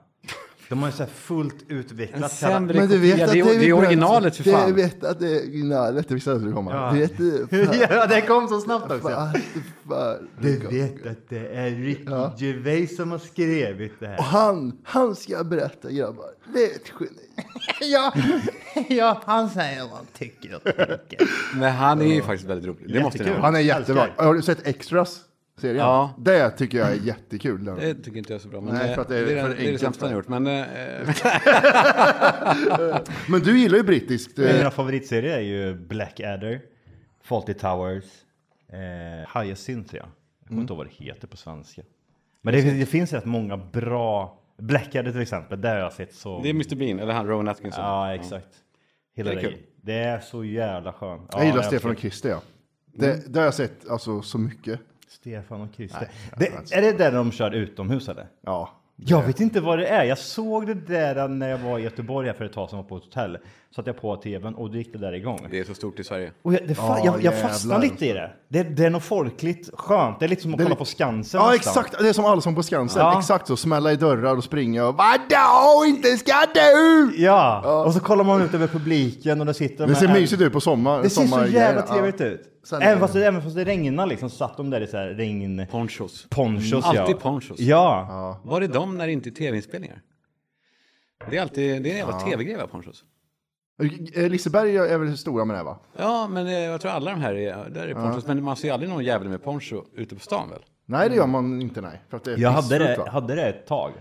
Speaker 3: De har ju så här fullt utvecklat.
Speaker 2: En
Speaker 3: karaktär.
Speaker 2: sämre kopia, det är, det är originalet för fan.
Speaker 1: Du vet att det är originalet, det visste jag skulle komma.
Speaker 3: Ja.
Speaker 1: Du vet det.
Speaker 2: (laughs)
Speaker 3: (laughs) ja, det kom så snabbt
Speaker 1: Fan,
Speaker 3: också.
Speaker 1: fan.
Speaker 3: Du vet att det är Ricky Gervais som har skrivit det
Speaker 1: Och
Speaker 3: här.
Speaker 1: han, han ska berätta grabbar. Det är ett
Speaker 2: (laughs)
Speaker 1: geni.
Speaker 3: ja, (laughs) ja, han säger vad han tycker och tänker.
Speaker 2: Men han är ju faktiskt väldigt rolig. Det måste ni
Speaker 3: Jättekul.
Speaker 2: ha.
Speaker 1: Han är jättebra.
Speaker 3: Älskar.
Speaker 1: Har du sett Extras? Serien?
Speaker 2: Ja. Eh.
Speaker 1: Det tycker jag är jättekul. den.
Speaker 2: Det tycker inte jag är så bra. Men
Speaker 1: Nej,
Speaker 2: eh,
Speaker 1: för att det är
Speaker 2: det,
Speaker 1: för
Speaker 2: det, är det
Speaker 1: enkelt
Speaker 2: sämsta
Speaker 1: för-
Speaker 2: han har gjort. Men, eh,
Speaker 1: Men du gillar ju brittiskt. eh,
Speaker 3: Mina favoritserier är ju Blackadder, Fawlty Towers, eh, Hyacinth, ja. Jag kommer inte ihåg vad det heter på svenska. Men det, det finns rätt många bra, Blackadder till exempel, där har jag sett så...
Speaker 2: det är Mr Bean, eller han Rowan Atkinson.
Speaker 3: Ja, exakt. Hela
Speaker 2: Det
Speaker 3: det,
Speaker 2: är
Speaker 3: är
Speaker 2: kul.
Speaker 3: det är så jävla skönt. Ja, Mm.
Speaker 1: jag gillar
Speaker 3: det är
Speaker 1: Stefan och
Speaker 3: kul.
Speaker 1: Christer ja. Det, det har jag sett alltså, så mycket.
Speaker 3: Stefan och Christer. Det, är det där de kör utomhus eller?
Speaker 1: Ja.
Speaker 3: Jag vet inte vad det är. Jag såg det där när jag var i Göteborg här för ett tag sedan jag var på ett hotell. Satte jag på tvn och då gick det där igång.
Speaker 2: Det är så stort i Sverige.
Speaker 3: Och jag, det fan,
Speaker 1: Ja,
Speaker 3: jag, jag
Speaker 1: jävlar.
Speaker 3: fastnar lite i det. det. Det är något folkligt skönt. Det är lite som att
Speaker 1: Det är
Speaker 3: kolla
Speaker 1: li-
Speaker 3: på Skansen.
Speaker 1: Ja
Speaker 3: nästan.
Speaker 1: exakt, det är som Allsång på Skansen.
Speaker 3: Ja.
Speaker 1: Exakt så, smälla i dörrar och springa och vadå, inte ska du!
Speaker 3: Ja. och så kollar man ut över publiken och där sitter de
Speaker 1: Det ser
Speaker 3: här-
Speaker 1: mysigt ut på sommar.
Speaker 3: Det ser så
Speaker 1: sommargrejer.
Speaker 3: jävla trevligt
Speaker 1: ja.
Speaker 3: ut.
Speaker 1: Sen-
Speaker 3: Även fast, det, även fast det regnar liksom så satt de där i så här regn...
Speaker 2: Ponchos.
Speaker 3: Mm, Ponchos
Speaker 2: Mm,
Speaker 3: ja.
Speaker 2: alltid ponchos.
Speaker 3: Ja.
Speaker 2: Var är de när det inte är tv-inspelningar? Det är alltid, det är en jävla tv-grej va, ponchos?
Speaker 1: Eh, Liseberg är väl stora med det här, va?
Speaker 2: Ja, men eh, jag tror alla de här är, där är ponchos. Men man ser aldrig någon jävel med poncho ute på stan väl?
Speaker 1: Nej det gör man inte nej. För att det är
Speaker 3: Mm. Jag hade
Speaker 1: pissfult,
Speaker 3: det,
Speaker 1: va?
Speaker 3: hade det ett tag.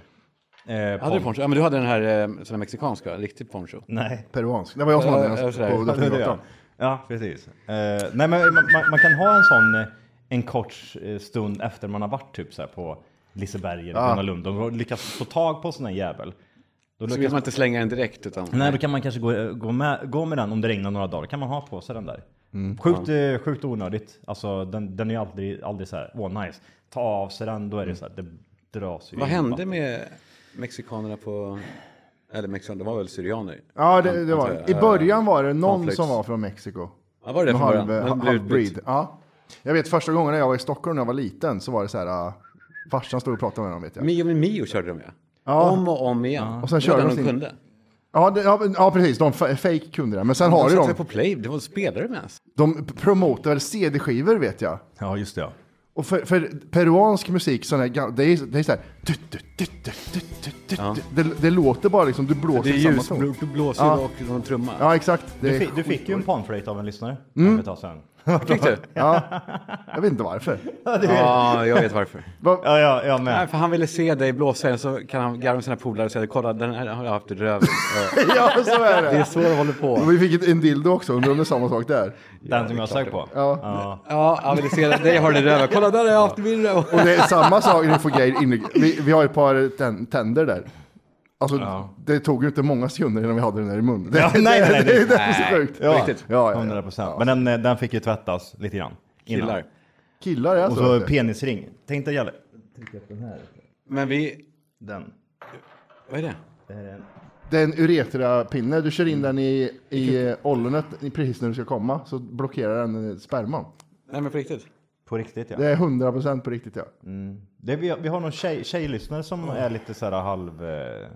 Speaker 3: Eh,
Speaker 2: Hade du
Speaker 3: pon-
Speaker 2: poncho? Ja, men du hade den här eh, sån här mexikanska, riktig poncho.
Speaker 3: Nej.
Speaker 1: Peruansk. Det var jag som hade
Speaker 2: Ja, ja,
Speaker 1: den
Speaker 2: sådär.
Speaker 1: på
Speaker 3: Ja, det är det.
Speaker 1: Drottninggatan.
Speaker 3: Ja, precis. Eh, nej, men man, man, man kan ha en sån eh, en kort eh, stund efter man har varit typ så här på Liseberg eller Gröna Lund och lyckas få tag på en sån här jävel. Då
Speaker 2: Så
Speaker 3: lyckas
Speaker 2: vill man inte slänga den direkt utan...
Speaker 1: Mm.
Speaker 3: Nej, då kan man kanske gå, eh, gå, med, gå med den om det regnar några dagar. kan man ha på sig den där. Sjukt, eh, sjukt onödigt. Alltså, den, den är ju aldrig, aldrig så här, åh nice. Ta av sig den, då är det så här, det dras ju.
Speaker 2: Vad
Speaker 3: in
Speaker 2: hände
Speaker 3: vatten.
Speaker 2: med mexikanerna på... Eller mexikaner, det var väl syrianer?
Speaker 1: Ja, det, det var det. I
Speaker 2: Eh,
Speaker 1: början var det någon
Speaker 2: cornflakes.
Speaker 1: som var från Mexiko.
Speaker 2: Ja, var det det
Speaker 1: En
Speaker 2: från
Speaker 1: halv,
Speaker 2: början? Men blev
Speaker 1: halvbreed.
Speaker 2: utbytt.
Speaker 1: Ja. Jag vet första gången när jag var i Stockholm när jag var liten så var det så här, äh, farsan stod och pratade med dem vet jag.
Speaker 2: Mio med Mio körde de ju.
Speaker 1: Ja.
Speaker 2: Om och om igen.
Speaker 1: Och sen
Speaker 2: Det var
Speaker 1: körde
Speaker 2: den
Speaker 1: de
Speaker 2: de
Speaker 1: sin-
Speaker 2: kunde.
Speaker 1: Ja, det, ja, men- ja precis, de f- fake kunde det. Men sen har ju
Speaker 2: de satte
Speaker 1: de,
Speaker 2: på play, det var spelare med ens.
Speaker 1: de promotar CD-skivor vet jag.
Speaker 3: Ja, just det ja.
Speaker 1: Och för, för peruansk musik, sån här, gam- det är, det är så här, tut, tut, tut, tut, tut, tut, tut. Det, det låter bara liksom, du blåser
Speaker 2: Det är
Speaker 1: i samma ton.
Speaker 2: ljus, du blåser
Speaker 1: Ja.
Speaker 2: ja. och en trumma.
Speaker 1: Ja, exakt. Det
Speaker 3: Du,
Speaker 1: är
Speaker 3: fi- du
Speaker 1: (laughs)
Speaker 3: fick ju en panflöjt av en lyssnare. Mm. Ett tag sedan.
Speaker 2: Fick du? Ja,
Speaker 1: Jag vet inte varför.
Speaker 2: jag vet varför. (laughs)
Speaker 3: Ja, ja, jag med.
Speaker 2: Nej, för han ville se dig blåsa den så kan han garva med sina polare och säga kolla den här har jag haft
Speaker 1: (laughs)
Speaker 2: i röven. Ja.
Speaker 1: Ja, så är
Speaker 2: Det är
Speaker 1: det.
Speaker 2: så det håller på.
Speaker 1: Och vi fick ett- en dildo också, undrar om det är samma sak där.
Speaker 3: Den som jag sög på.
Speaker 1: Ja.
Speaker 2: Ja, han ville se dig har den i röven. Kolla där har jag haft i min röv.
Speaker 1: Och det är samma sak när vi får grejer in. Vi, vi har ett par tän- tänder där. Alltså, det tog ju inte många sekunder innan vi hade den där i munnen. Det,
Speaker 3: Ja, nej, nej, nej.
Speaker 1: det, det är så sjukt.
Speaker 3: Ja,
Speaker 2: Riktigt.
Speaker 1: Ja, ja,
Speaker 3: 100
Speaker 1: ja.
Speaker 3: procent. Men den, eh, den fick ju tvättas lite grann. innan.
Speaker 2: Killar.
Speaker 1: Killar Alltså, är så.
Speaker 3: Och så
Speaker 1: vet du.
Speaker 3: penisring. Tänk dig Jalle. Tryck upp den här.
Speaker 2: Men vi,
Speaker 3: Den.
Speaker 2: vad är det?
Speaker 3: Det här är en-
Speaker 1: Det är en uretrapinne. Du kör in den i, i eh, ollonet i- precis när du ska komma. Så blockerar den eh, sperman.
Speaker 2: Nej men på riktigt.
Speaker 3: På riktigt ja.
Speaker 1: Det är 100% på riktigt ja.
Speaker 3: Det, vi, vi har någon tjej, tjejlyssnare som är lite så här halv... Eh,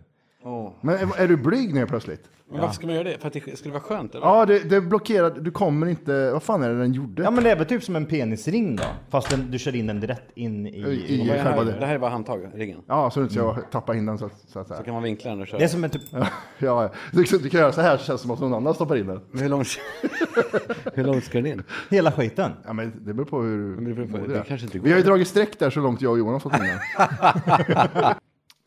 Speaker 1: Men är, är du blyg nu plötsligt?
Speaker 2: Men varför ska man göra det? För att det skulle vara skönt eller?
Speaker 1: Ja, det, det blockerar. Du kommer inte... Vad fan är det den gjorde?
Speaker 3: ja men det är väl typ som en penisring då? Fast den, du kör in den direkt in i...
Speaker 1: I- i-
Speaker 2: Vad är det, här?
Speaker 1: själva det.
Speaker 2: det här är bara handtagringen.
Speaker 1: Ja, så du inte ska
Speaker 3: Mm.
Speaker 1: tappa in den så, att- så att säga.
Speaker 2: Så kan man vinkla den och köra.
Speaker 3: Det är som en typ...
Speaker 1: Ja, ja. du, du kan göra så här så känns det som att någon annan stoppar in den.
Speaker 2: Men Hur långt, hur långt ska den in?
Speaker 3: Hela skiten.
Speaker 1: Ja, men det beror på hur...
Speaker 2: det beror på-
Speaker 1: hur
Speaker 2: det
Speaker 1: är.
Speaker 2: kanske inte
Speaker 1: Vi har ju
Speaker 2: går.
Speaker 1: dragit streck där så långt jag och Jonas har fått
Speaker 2: (laughs)
Speaker 1: in den.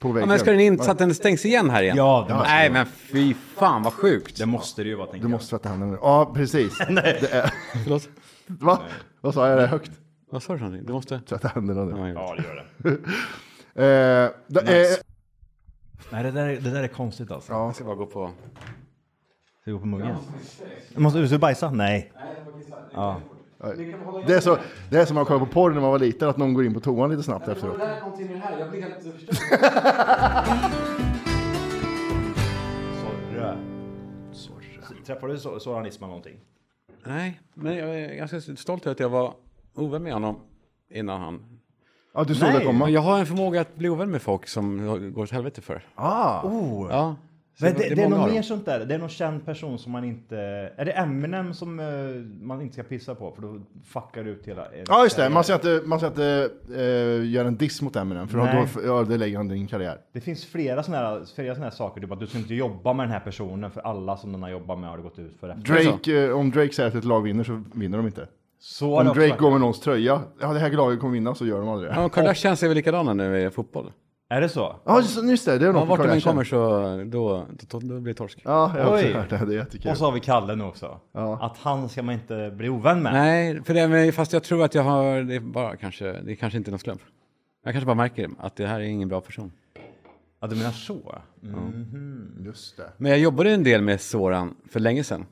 Speaker 1: på
Speaker 2: Ja,
Speaker 1: väggen.
Speaker 2: men ska den in så att den stängs igen här igen?
Speaker 3: Ja, det måste
Speaker 2: Nej men fy fan vad sjukt.
Speaker 3: Det måste det ju vara tänker
Speaker 1: Du måste tvätta händerna nu. Ja, precis.
Speaker 2: (laughs)
Speaker 1: Det är...
Speaker 2: Förlåt?
Speaker 1: Va? Vad sa jag? Det är högt.
Speaker 2: Vad sa du för någonting? Du måste...
Speaker 1: Tvätta händerna nu.
Speaker 2: Ja, jag vet.
Speaker 3: Ja, det gör det.
Speaker 1: Eh, det är-
Speaker 3: Nej, det där, är- det där är konstigt alltså.
Speaker 2: Jag ska bara gå på...
Speaker 3: Det går på muggen. Måste du bajsa? Nej.
Speaker 1: det, är så, det är som när man kollar på porr när man var liten, att någon går in på toan lite snabbt efteråt.
Speaker 3: Sorre. Sorre. Träffar du Sor- Soran Ismail någonting?
Speaker 2: Nej, men jag är ganska stolt över att jag var ovän med honom innan han...
Speaker 1: Ja, du såg
Speaker 3: Nej.
Speaker 1: det komma.
Speaker 2: Jag har en förmåga att bli ovän med folk som går åt helvete för.
Speaker 1: Ah,
Speaker 2: Ja. Så
Speaker 3: Men det, det, är
Speaker 2: många av
Speaker 3: något
Speaker 2: dem.
Speaker 3: mer sånt där. Det är någon känd person som man inte... Är det Eminem som eh, man inte ska pissa på? För då fuckar du ut hela...
Speaker 1: ja, just det. Man ska inte, man ska inte eh, göra en diss mot Eminem, för
Speaker 3: Nej.
Speaker 1: då ödelägger han din karriär.
Speaker 3: Det finns flera sådana här, flera såna här saker, typ att du ska inte jobba med den här personen för alla som den har jobbat med har det gått ut för. Efter.
Speaker 1: Drake, eh, om Drake säger att ett lag vinner så vinner de inte.
Speaker 3: Så har
Speaker 1: Om
Speaker 3: det också
Speaker 1: Drake
Speaker 3: varit.
Speaker 1: går med någons tröja, ja det här laget kommer vinna, så gör de aldrig det.
Speaker 2: Ja, men Kardashians är väl likadana nu i fotboll.
Speaker 3: Är det så?
Speaker 1: Ja, just, just det, det är
Speaker 2: Ja,
Speaker 1: något
Speaker 2: vart de än
Speaker 1: Kardashian.
Speaker 2: kommer så då, då, då blir det torsk.
Speaker 1: Ja, jag har också
Speaker 3: Oj.
Speaker 1: hört det, det är jättekul.
Speaker 3: Och så har vi Kalle nu också. Att han ska man inte bli ovän med.
Speaker 2: Nej, för det, men fast jag tror att jag har... Det är bara kanske... Det är kanske inte är någon slump. Jag kanske bara märker att det här är ingen bra person.
Speaker 3: Ja, du menar så? Mm.
Speaker 1: Just det.
Speaker 2: Men jag jobbade en del med Soran för länge sedan.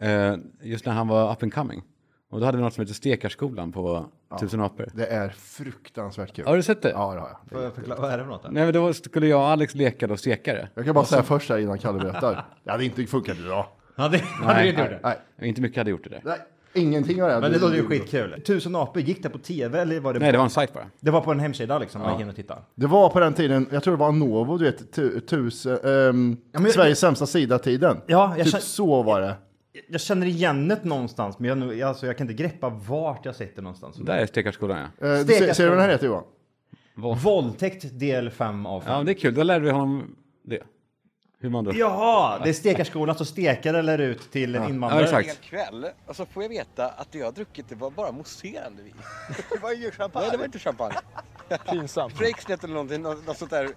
Speaker 2: Eh, just när han var up and coming. Och då hade vi något som heter Stekarskolan på Tusen apor.
Speaker 1: Det är fruktansvärt kul.
Speaker 2: Har du sett det?
Speaker 1: Ja, det har jag.
Speaker 3: Får jag förklara, vad är det för något? Där?
Speaker 2: Nej, men då skulle jag och Alex leka då stekare.
Speaker 1: Jag kan bara säga först här innan Kalle berättar. Det hade inte funkat idag.
Speaker 3: Ja, det, nej, det gjorde det.
Speaker 1: Nej,
Speaker 2: Inte mycket hade gjort det där.
Speaker 1: nej. Ingenting av det. här.
Speaker 3: Men det låter ju skitkul. Tusen apor, gick det på tv eller var det?
Speaker 2: Nej, det var en sajt bara.
Speaker 3: Det var på en hemsida liksom, man gick in och tittade.
Speaker 1: Det var på den tiden, jag tror det var Novo, du vet, tu, tusen, ehm,
Speaker 3: jag-
Speaker 1: Sveriges sämsta sida-tiden.
Speaker 3: Ja, jag
Speaker 1: typ
Speaker 3: känner-
Speaker 1: så var det. Eh,
Speaker 3: Jag känner igen det någonstans, men jag, nu- alltså, jag kan inte greppa vart jag sett det någonstans.
Speaker 2: Där är Stekarskolan, ja.
Speaker 1: Eh, du ser,
Speaker 3: Stekas-
Speaker 1: ser du vad den här heter Johan? (laughs)
Speaker 3: Våldtäkt del 5 av 5.
Speaker 2: Ja, men det är kul. Då lärde vi honom det. Hur man då...
Speaker 3: Jaha, det är stekarskolan som stekare eller ut till en
Speaker 2: ja
Speaker 3: invandrare.
Speaker 2: exakt.
Speaker 5: kväll och så får jag veta att det jag har druckit det var bara mousserande vin. (laughs) Det var ju champagne. Nej, det var inte champagne. (laughs) Pinsamt. Frejksnet eller någonting, något, något sånt där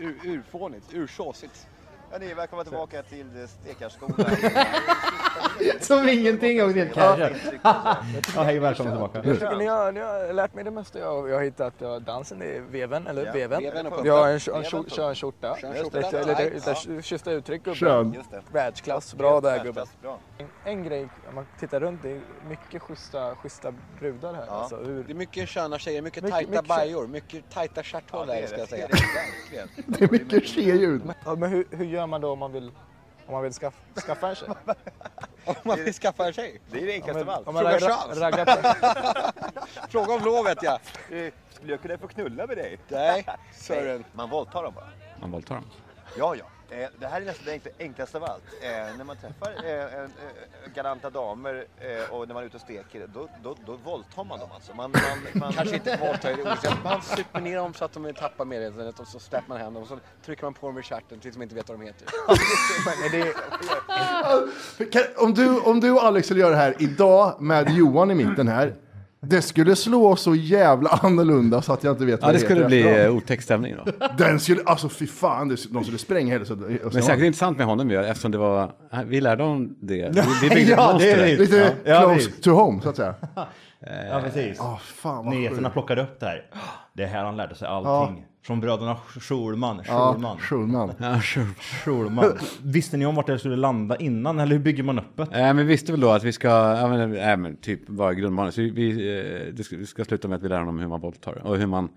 Speaker 5: ur, urfånigt, ursåsigt.
Speaker 6: Hörni, välkomna tillbaka till eh, Stekarskolan.
Speaker 3: (laughs) Som ingenting och helt casual. Ja, (laughs) hej välkommen
Speaker 6: Jag
Speaker 3: tillbaka.
Speaker 6: tycker ni har, ni har lärt mig det mesta jag, jag har hittat. Ja, dansen är veven, eller veven.
Speaker 5: veven och
Speaker 6: Vi
Speaker 5: pumpen.
Speaker 6: har en, kö- en,
Speaker 5: Veven och
Speaker 6: kö-
Speaker 5: pumpen.
Speaker 6: kör en skjorta.
Speaker 5: Kör en
Speaker 6: Just det,
Speaker 5: skjorta,
Speaker 6: Lite, lite,
Speaker 5: nice.
Speaker 6: lite kyssta uttryck gubben.
Speaker 1: Kön.
Speaker 6: Världsklass, bra där gubben.
Speaker 5: Världsklass, bra.
Speaker 6: En, en grej, om man tittar runt, det är mycket schyssta, schyssta brudar här. Alltså, hur,
Speaker 5: Det är mycket sköna tjejer, mycket,
Speaker 6: Mycket-
Speaker 5: tajta
Speaker 6: mycket-
Speaker 5: bajor, mycket tajta stjärthål där ska jag säga.
Speaker 1: Det är mycket tjejljud.
Speaker 6: ja, men hur, hur gör man då om man vill, om man vill skaffa, skaffa en tjej?
Speaker 5: Om man vill skaffa en tjej.
Speaker 7: Det är det enklaste av allt.
Speaker 6: Om man
Speaker 5: Fråga
Speaker 6: raggar,
Speaker 5: chans.
Speaker 6: raggar på,
Speaker 5: Fråga om lov vet jag.
Speaker 7: Eh, Skulle jag kunna få knulla med dig?
Speaker 5: Nej, Sören.
Speaker 7: Man våldtar dem bara.
Speaker 2: Man våldtar dem.
Speaker 7: Ja, ja. Eh, Det här är nästan det enkla- enklaste av allt. Eh, När man träffar eh, en, eh, galanta damer eh, och när man är ute och steker, då, då, då våldtar man dem alltså. Man, man, man...
Speaker 5: Kanske (laughs) inte våldtar i det ordet. Man super ner dem så att de tappar medvetandet och så släpper man hem dem och så trycker man på dem i stjärten tills de inte vet vad de heter.
Speaker 1: Kan, om, du, om du och Alex skulle göra det här idag med Johan i mitten här. Det skulle slå så jävla annorlunda så att jag inte vet
Speaker 2: Ja, det skulle
Speaker 1: heter
Speaker 2: bli
Speaker 1: efteråt.
Speaker 2: eh, otäck stämning då.
Speaker 1: Den skulle, alltså fy fan, det, de skulle spränga hela alltså, Söder-
Speaker 2: Men
Speaker 1: Östermalm.
Speaker 2: säkert intressant med honom ju, eftersom det var, vi lärde honom det. Vi, vi byggde ett
Speaker 3: Ja,
Speaker 2: monster.
Speaker 3: det är det.
Speaker 1: Lite
Speaker 3: Ja, ja,
Speaker 1: close
Speaker 3: visst.
Speaker 1: to home så att säga.
Speaker 3: Ja, precis.
Speaker 1: Ah fan vad
Speaker 3: Nyheterna
Speaker 1: sjukt.
Speaker 3: plockade upp det här. Det är här han lärde sig allting. Från bröderna Schulman.
Speaker 1: Ja,
Speaker 3: Schulman.
Speaker 1: Schulman.
Speaker 2: Ja, sure.
Speaker 3: Schulman. Visste ni om vart det skulle landa innan? Eller hur bygger man upp det?
Speaker 2: Eh, men vi visste väl då att vi ska, ja men, eh, men typ vara grundmanen. Så vi, vi, eh, det ska, vi ska sluta med att vi lär honom hur man våldtar och hur man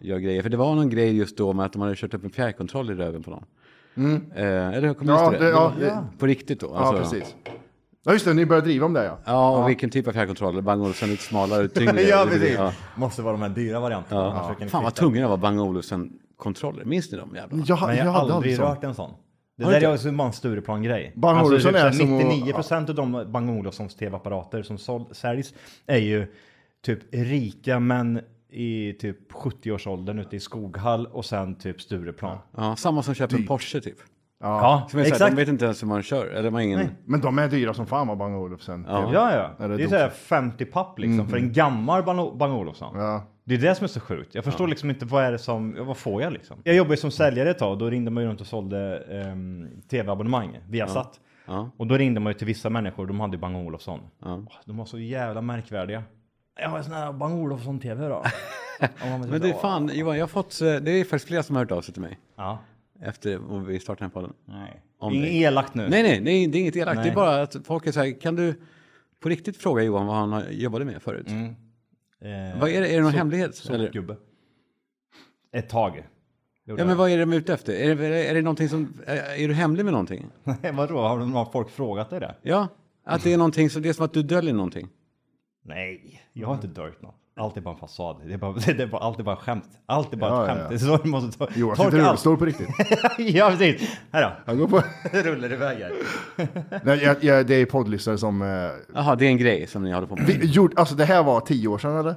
Speaker 2: gör grejer. För det var någon grej just då med att de hade kört upp en fjärrkontroll i röven på någon. Eh, eller hur kommer
Speaker 1: Ja,
Speaker 2: det?
Speaker 1: det- ja.
Speaker 2: Det var- På riktigt då? alltså.
Speaker 1: Ja, precis. Ja, just det, ni började driva om det ja.
Speaker 2: Ja, och vilken typ av fjärrkontroll? Bang Olufsen lite
Speaker 3: (laughs)
Speaker 2: smalare, tyngre.
Speaker 3: Ja, precis. Måste vara de här dyra varianterna. Man försöker
Speaker 2: Fan vad
Speaker 3: fitta.
Speaker 2: tunga de var, Bang Olufsen-kontroller. Minns ni dem jävlarna?
Speaker 1: Jag,
Speaker 3: Men jag har
Speaker 1: hade
Speaker 3: aldrig
Speaker 1: sån.
Speaker 3: rört en sån. Det
Speaker 2: Har
Speaker 3: där
Speaker 2: du
Speaker 3: är också bara en Stureplan-grej.
Speaker 1: Bang Olufsen
Speaker 3: typ så här
Speaker 1: är som att-
Speaker 3: 99 procent av de Bang Olufsons tv-apparater som sål- säljs är ju typ rika män i typ 70-årsåldern ute i Skoghall och sen typ Stureplan.
Speaker 2: Ja, samma som köper en Porsche typ.
Speaker 3: Ja,
Speaker 2: Som är så här,
Speaker 3: exakt.
Speaker 2: de vet inte ens hur man kör. Eller de har ingen...
Speaker 1: Men de är dyra som fan vad Bang Olufsen.
Speaker 2: Ja.
Speaker 3: Ja, ja.
Speaker 1: det är Mm,
Speaker 3: det är såhär 50 papp liksom för en gammal Bang, Bang Olofsson.
Speaker 1: Ja.
Speaker 3: Det är det som är så sjukt. Jag förstår liksom inte vad är det som, ja, vad får jag liksom? Jag jobbade som säljare ett tag och då ringde man ju runt och sålde ehm, tv-abonnemang via Sat.
Speaker 2: Ja.
Speaker 3: Och då ringde man ju till vissa människor, de hade ju Bang Olofsson. Åh, De var så jävla märkvärdiga. Jag har en sån här Bang Olofsson-tv (laughs) då. Och man bara typ,
Speaker 2: Men det är
Speaker 3: "Åh."
Speaker 2: fan, Johan, jag har fått... eh, Det är faktiskt flera som har hört av sig till mig.
Speaker 3: Ja.
Speaker 2: Efter om vi startade den här podden.
Speaker 3: Nej.
Speaker 2: Om
Speaker 3: Inget
Speaker 2: dig.
Speaker 3: elakt nu.
Speaker 2: Nej, nej, nej, det är inget elakt.
Speaker 3: Nej.
Speaker 2: Det är bara att folk är så här, kan du på riktigt fråga Johan vad han har- jobbade med förut?
Speaker 3: Eh,
Speaker 2: Vad är det, är det någon hemlighet? eller?
Speaker 3: Gubbe. Ett tag.
Speaker 2: Ja, men vad är det de är ute efter? Är det, är det- är det någonting som, är, är du hemlig med någonting?
Speaker 3: (laughs) Vadå, har de- har folk frågat dig det?
Speaker 2: Ja, att det är någonting, som det är som att du döljer någonting.
Speaker 3: Nej, jag har inte döjt något. Allt är bara en fasad. Det är bara, (laughs) det är bara, allt är bara skämt. Allt är bara
Speaker 1: Ja,
Speaker 3: ett
Speaker 1: ja,
Speaker 3: skämt.
Speaker 1: ja.
Speaker 3: Det är så du måste ta,
Speaker 1: Johan
Speaker 3: torka
Speaker 1: sitter i
Speaker 3: allt.
Speaker 1: rullstol på riktigt.
Speaker 3: (laughs) ja, precis. Här då.
Speaker 1: Han går
Speaker 3: (laughs)
Speaker 1: på...
Speaker 3: Det rullar iväg här.
Speaker 1: Nej, jag, jag, det är poddlyssnare som... Eh,
Speaker 2: Jaha, det är en grej som ni håller på med.
Speaker 1: vi, gjorde, alltså det här var tio år sedan eller?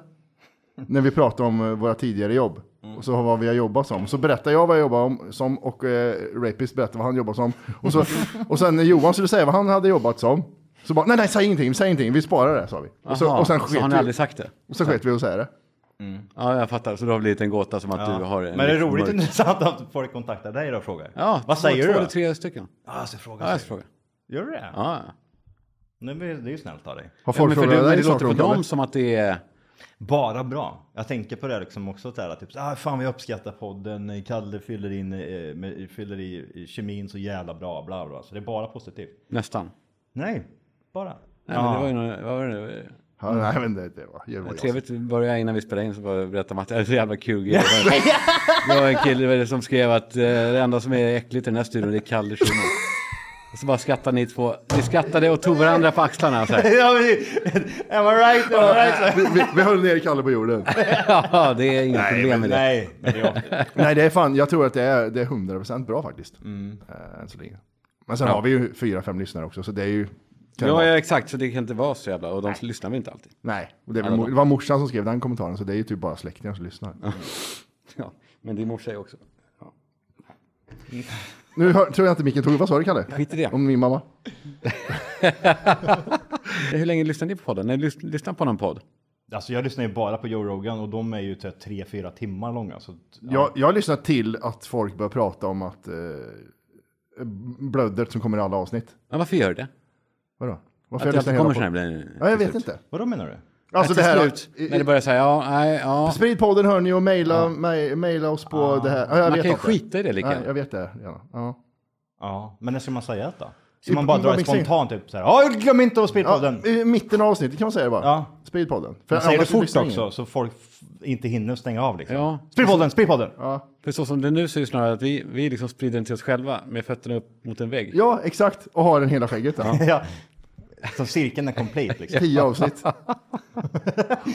Speaker 1: När vi pratade om eh, våra tidigare jobb. Och så vad vi har jobbat som. Så berättar jag vad jag jobbar om, som och eh, Rapist berättar vad han jobbar som. Och,
Speaker 2: (laughs)
Speaker 1: så, och sen när Johan skulle säga vad han hade jobbat som. Så bara, nej nej säg ingenting, säg ingenting, vi sparar det sa vi. Och så,
Speaker 2: Jaha,
Speaker 1: och sen
Speaker 2: så har ni
Speaker 1: sket vi,
Speaker 2: aldrig sagt det?
Speaker 1: och så sket vi och säga det.
Speaker 2: Ja, jag fattar. Så det har blivit en gåta som att du har en...
Speaker 3: Men det är
Speaker 2: liksom
Speaker 3: roligt och
Speaker 2: mörk-
Speaker 3: intressant (laughs) att folk kontaktar dig då och frågar.
Speaker 2: Ja,
Speaker 3: Vad
Speaker 2: två-
Speaker 3: säger du
Speaker 2: Två
Speaker 3: då? Alltså.
Speaker 2: eller tre stycken.
Speaker 3: Ja, jag ska fråga.
Speaker 2: Ja, jag ska fråga.
Speaker 3: Gör du det?
Speaker 2: Ja, ja.
Speaker 3: Nej, men Det är ju snällt av dig.
Speaker 1: Har
Speaker 2: Ja,
Speaker 1: folk
Speaker 2: men för
Speaker 1: frågat
Speaker 2: det,
Speaker 1: dig
Speaker 2: men det
Speaker 1: saker
Speaker 2: låter på
Speaker 1: om det, eller?
Speaker 2: dem som att det är...
Speaker 3: Bara bra. Jag tänker på det liksom också. så här, Typ, så, ah, fan vi uppskattar podden. Kalle fyller, in, eh, med, fyller i i kemin så jävla bra. Bla, bla. Så det är bara positivt.
Speaker 2: Nästan.
Speaker 3: Nej, bara. (laughs)
Speaker 2: Nej, men det var ju något, vad var det? nu?
Speaker 1: Ja, nej men det, det var, det var
Speaker 2: Det var
Speaker 1: jag.
Speaker 2: trevligt att börja innan vi spelade in så bara berättade Matti, det är så jävla kul
Speaker 3: (laughs)
Speaker 2: grej. Det var- Det var en kille som skrev att eh, det enda som är äckligt i den här studion det är Kalle Schulman. Och så bara skrattade ni två, ni skrattade och tog varandra på axlarna
Speaker 3: (laughs)
Speaker 2: så här.
Speaker 3: Ja, precis. Am I right? Am I right?
Speaker 1: Vi, vi, vi höll ner Kalle på
Speaker 2: (laughs)
Speaker 1: jorden.
Speaker 2: Ja, det är inget problem med det.
Speaker 3: Nej, men det är ofta-
Speaker 1: Nej, det är fan, jag tror att det är, det är 100% bra faktiskt.
Speaker 2: Mm.
Speaker 1: Äh, än så länge. Men sen har vi ju fyra, fem lyssnare också, så det är ju... kan det
Speaker 2: Ja,
Speaker 1: vara-
Speaker 2: ja, exakt, så det kan inte vara så jävla, och de lyssnar väl inte alltid. (laughs)
Speaker 1: Nej, och det, är väl mor- det var morsan som skrev den kommentaren, så det är ju typ bara släktingar som lyssnar.
Speaker 2: Ja, men din morsa är också.
Speaker 1: Nu hör, tror jag inte micken tog, vad sa du Kalle?
Speaker 2: Skit i det.
Speaker 1: Om min mamma?
Speaker 2: Hur länge lyssnar ni på podden? När lys- lyssnar på någon podd?
Speaker 3: Alltså jag lyssnar ju bara på Joe Rogan och de är ju typ 3-4 timmar långa. Så, att- ja.
Speaker 1: Jag, jag har lyssnat till att folk börjar prata om att eh, blödret som kommer i alla avsnitt.
Speaker 2: Men varför gör du det?
Speaker 1: Vadå? Varför jag
Speaker 2: Att det alltid
Speaker 1: lyssnar hela
Speaker 2: kommer
Speaker 1: på-
Speaker 2: sådär blir...
Speaker 1: Ja, jag
Speaker 2: till
Speaker 1: vet
Speaker 2: slut.
Speaker 1: inte.
Speaker 3: Vadå menar du?
Speaker 1: Alltså
Speaker 2: Ja,
Speaker 1: det här...
Speaker 2: till slut, när det börjar säga ja, nej, ja.
Speaker 1: Sprid podden hörni och mejla mej, mejla oss på det här. Ja, jag
Speaker 2: Man
Speaker 1: vet
Speaker 2: kan ju
Speaker 1: inte.
Speaker 2: skita i det lika
Speaker 1: Nej, jag
Speaker 2: gärna.
Speaker 1: vet det. Ja. Ja.
Speaker 3: Ja, men när ska man säga det då? Ska
Speaker 1: I-
Speaker 3: man bara
Speaker 1: i-
Speaker 3: dra
Speaker 1: vad
Speaker 3: det
Speaker 1: mixing?
Speaker 3: spontant typ såhär? Ja, glöm inte att spela på
Speaker 1: Ja,
Speaker 3: den!
Speaker 1: I mitten av avsnittet kan man säga det bara.
Speaker 3: Ja.
Speaker 1: Sprid podden. För
Speaker 3: Man säger det
Speaker 1: annars
Speaker 3: fort
Speaker 1: lyssnar ingen.
Speaker 3: också så folk f- inte hinner stänga av liksom.
Speaker 2: Ja.
Speaker 3: Sprid podden, sprid podden!
Speaker 2: För så som det nu så är det snarare att vi, vi liksom sprider den till oss själva med fötterna upp mot en vägg.
Speaker 1: Ja, exakt. Och ha den hela skägget. Ja.
Speaker 3: (laughs) Ja. Så cirkeln är complete liksom.
Speaker 1: Tio avsnitt.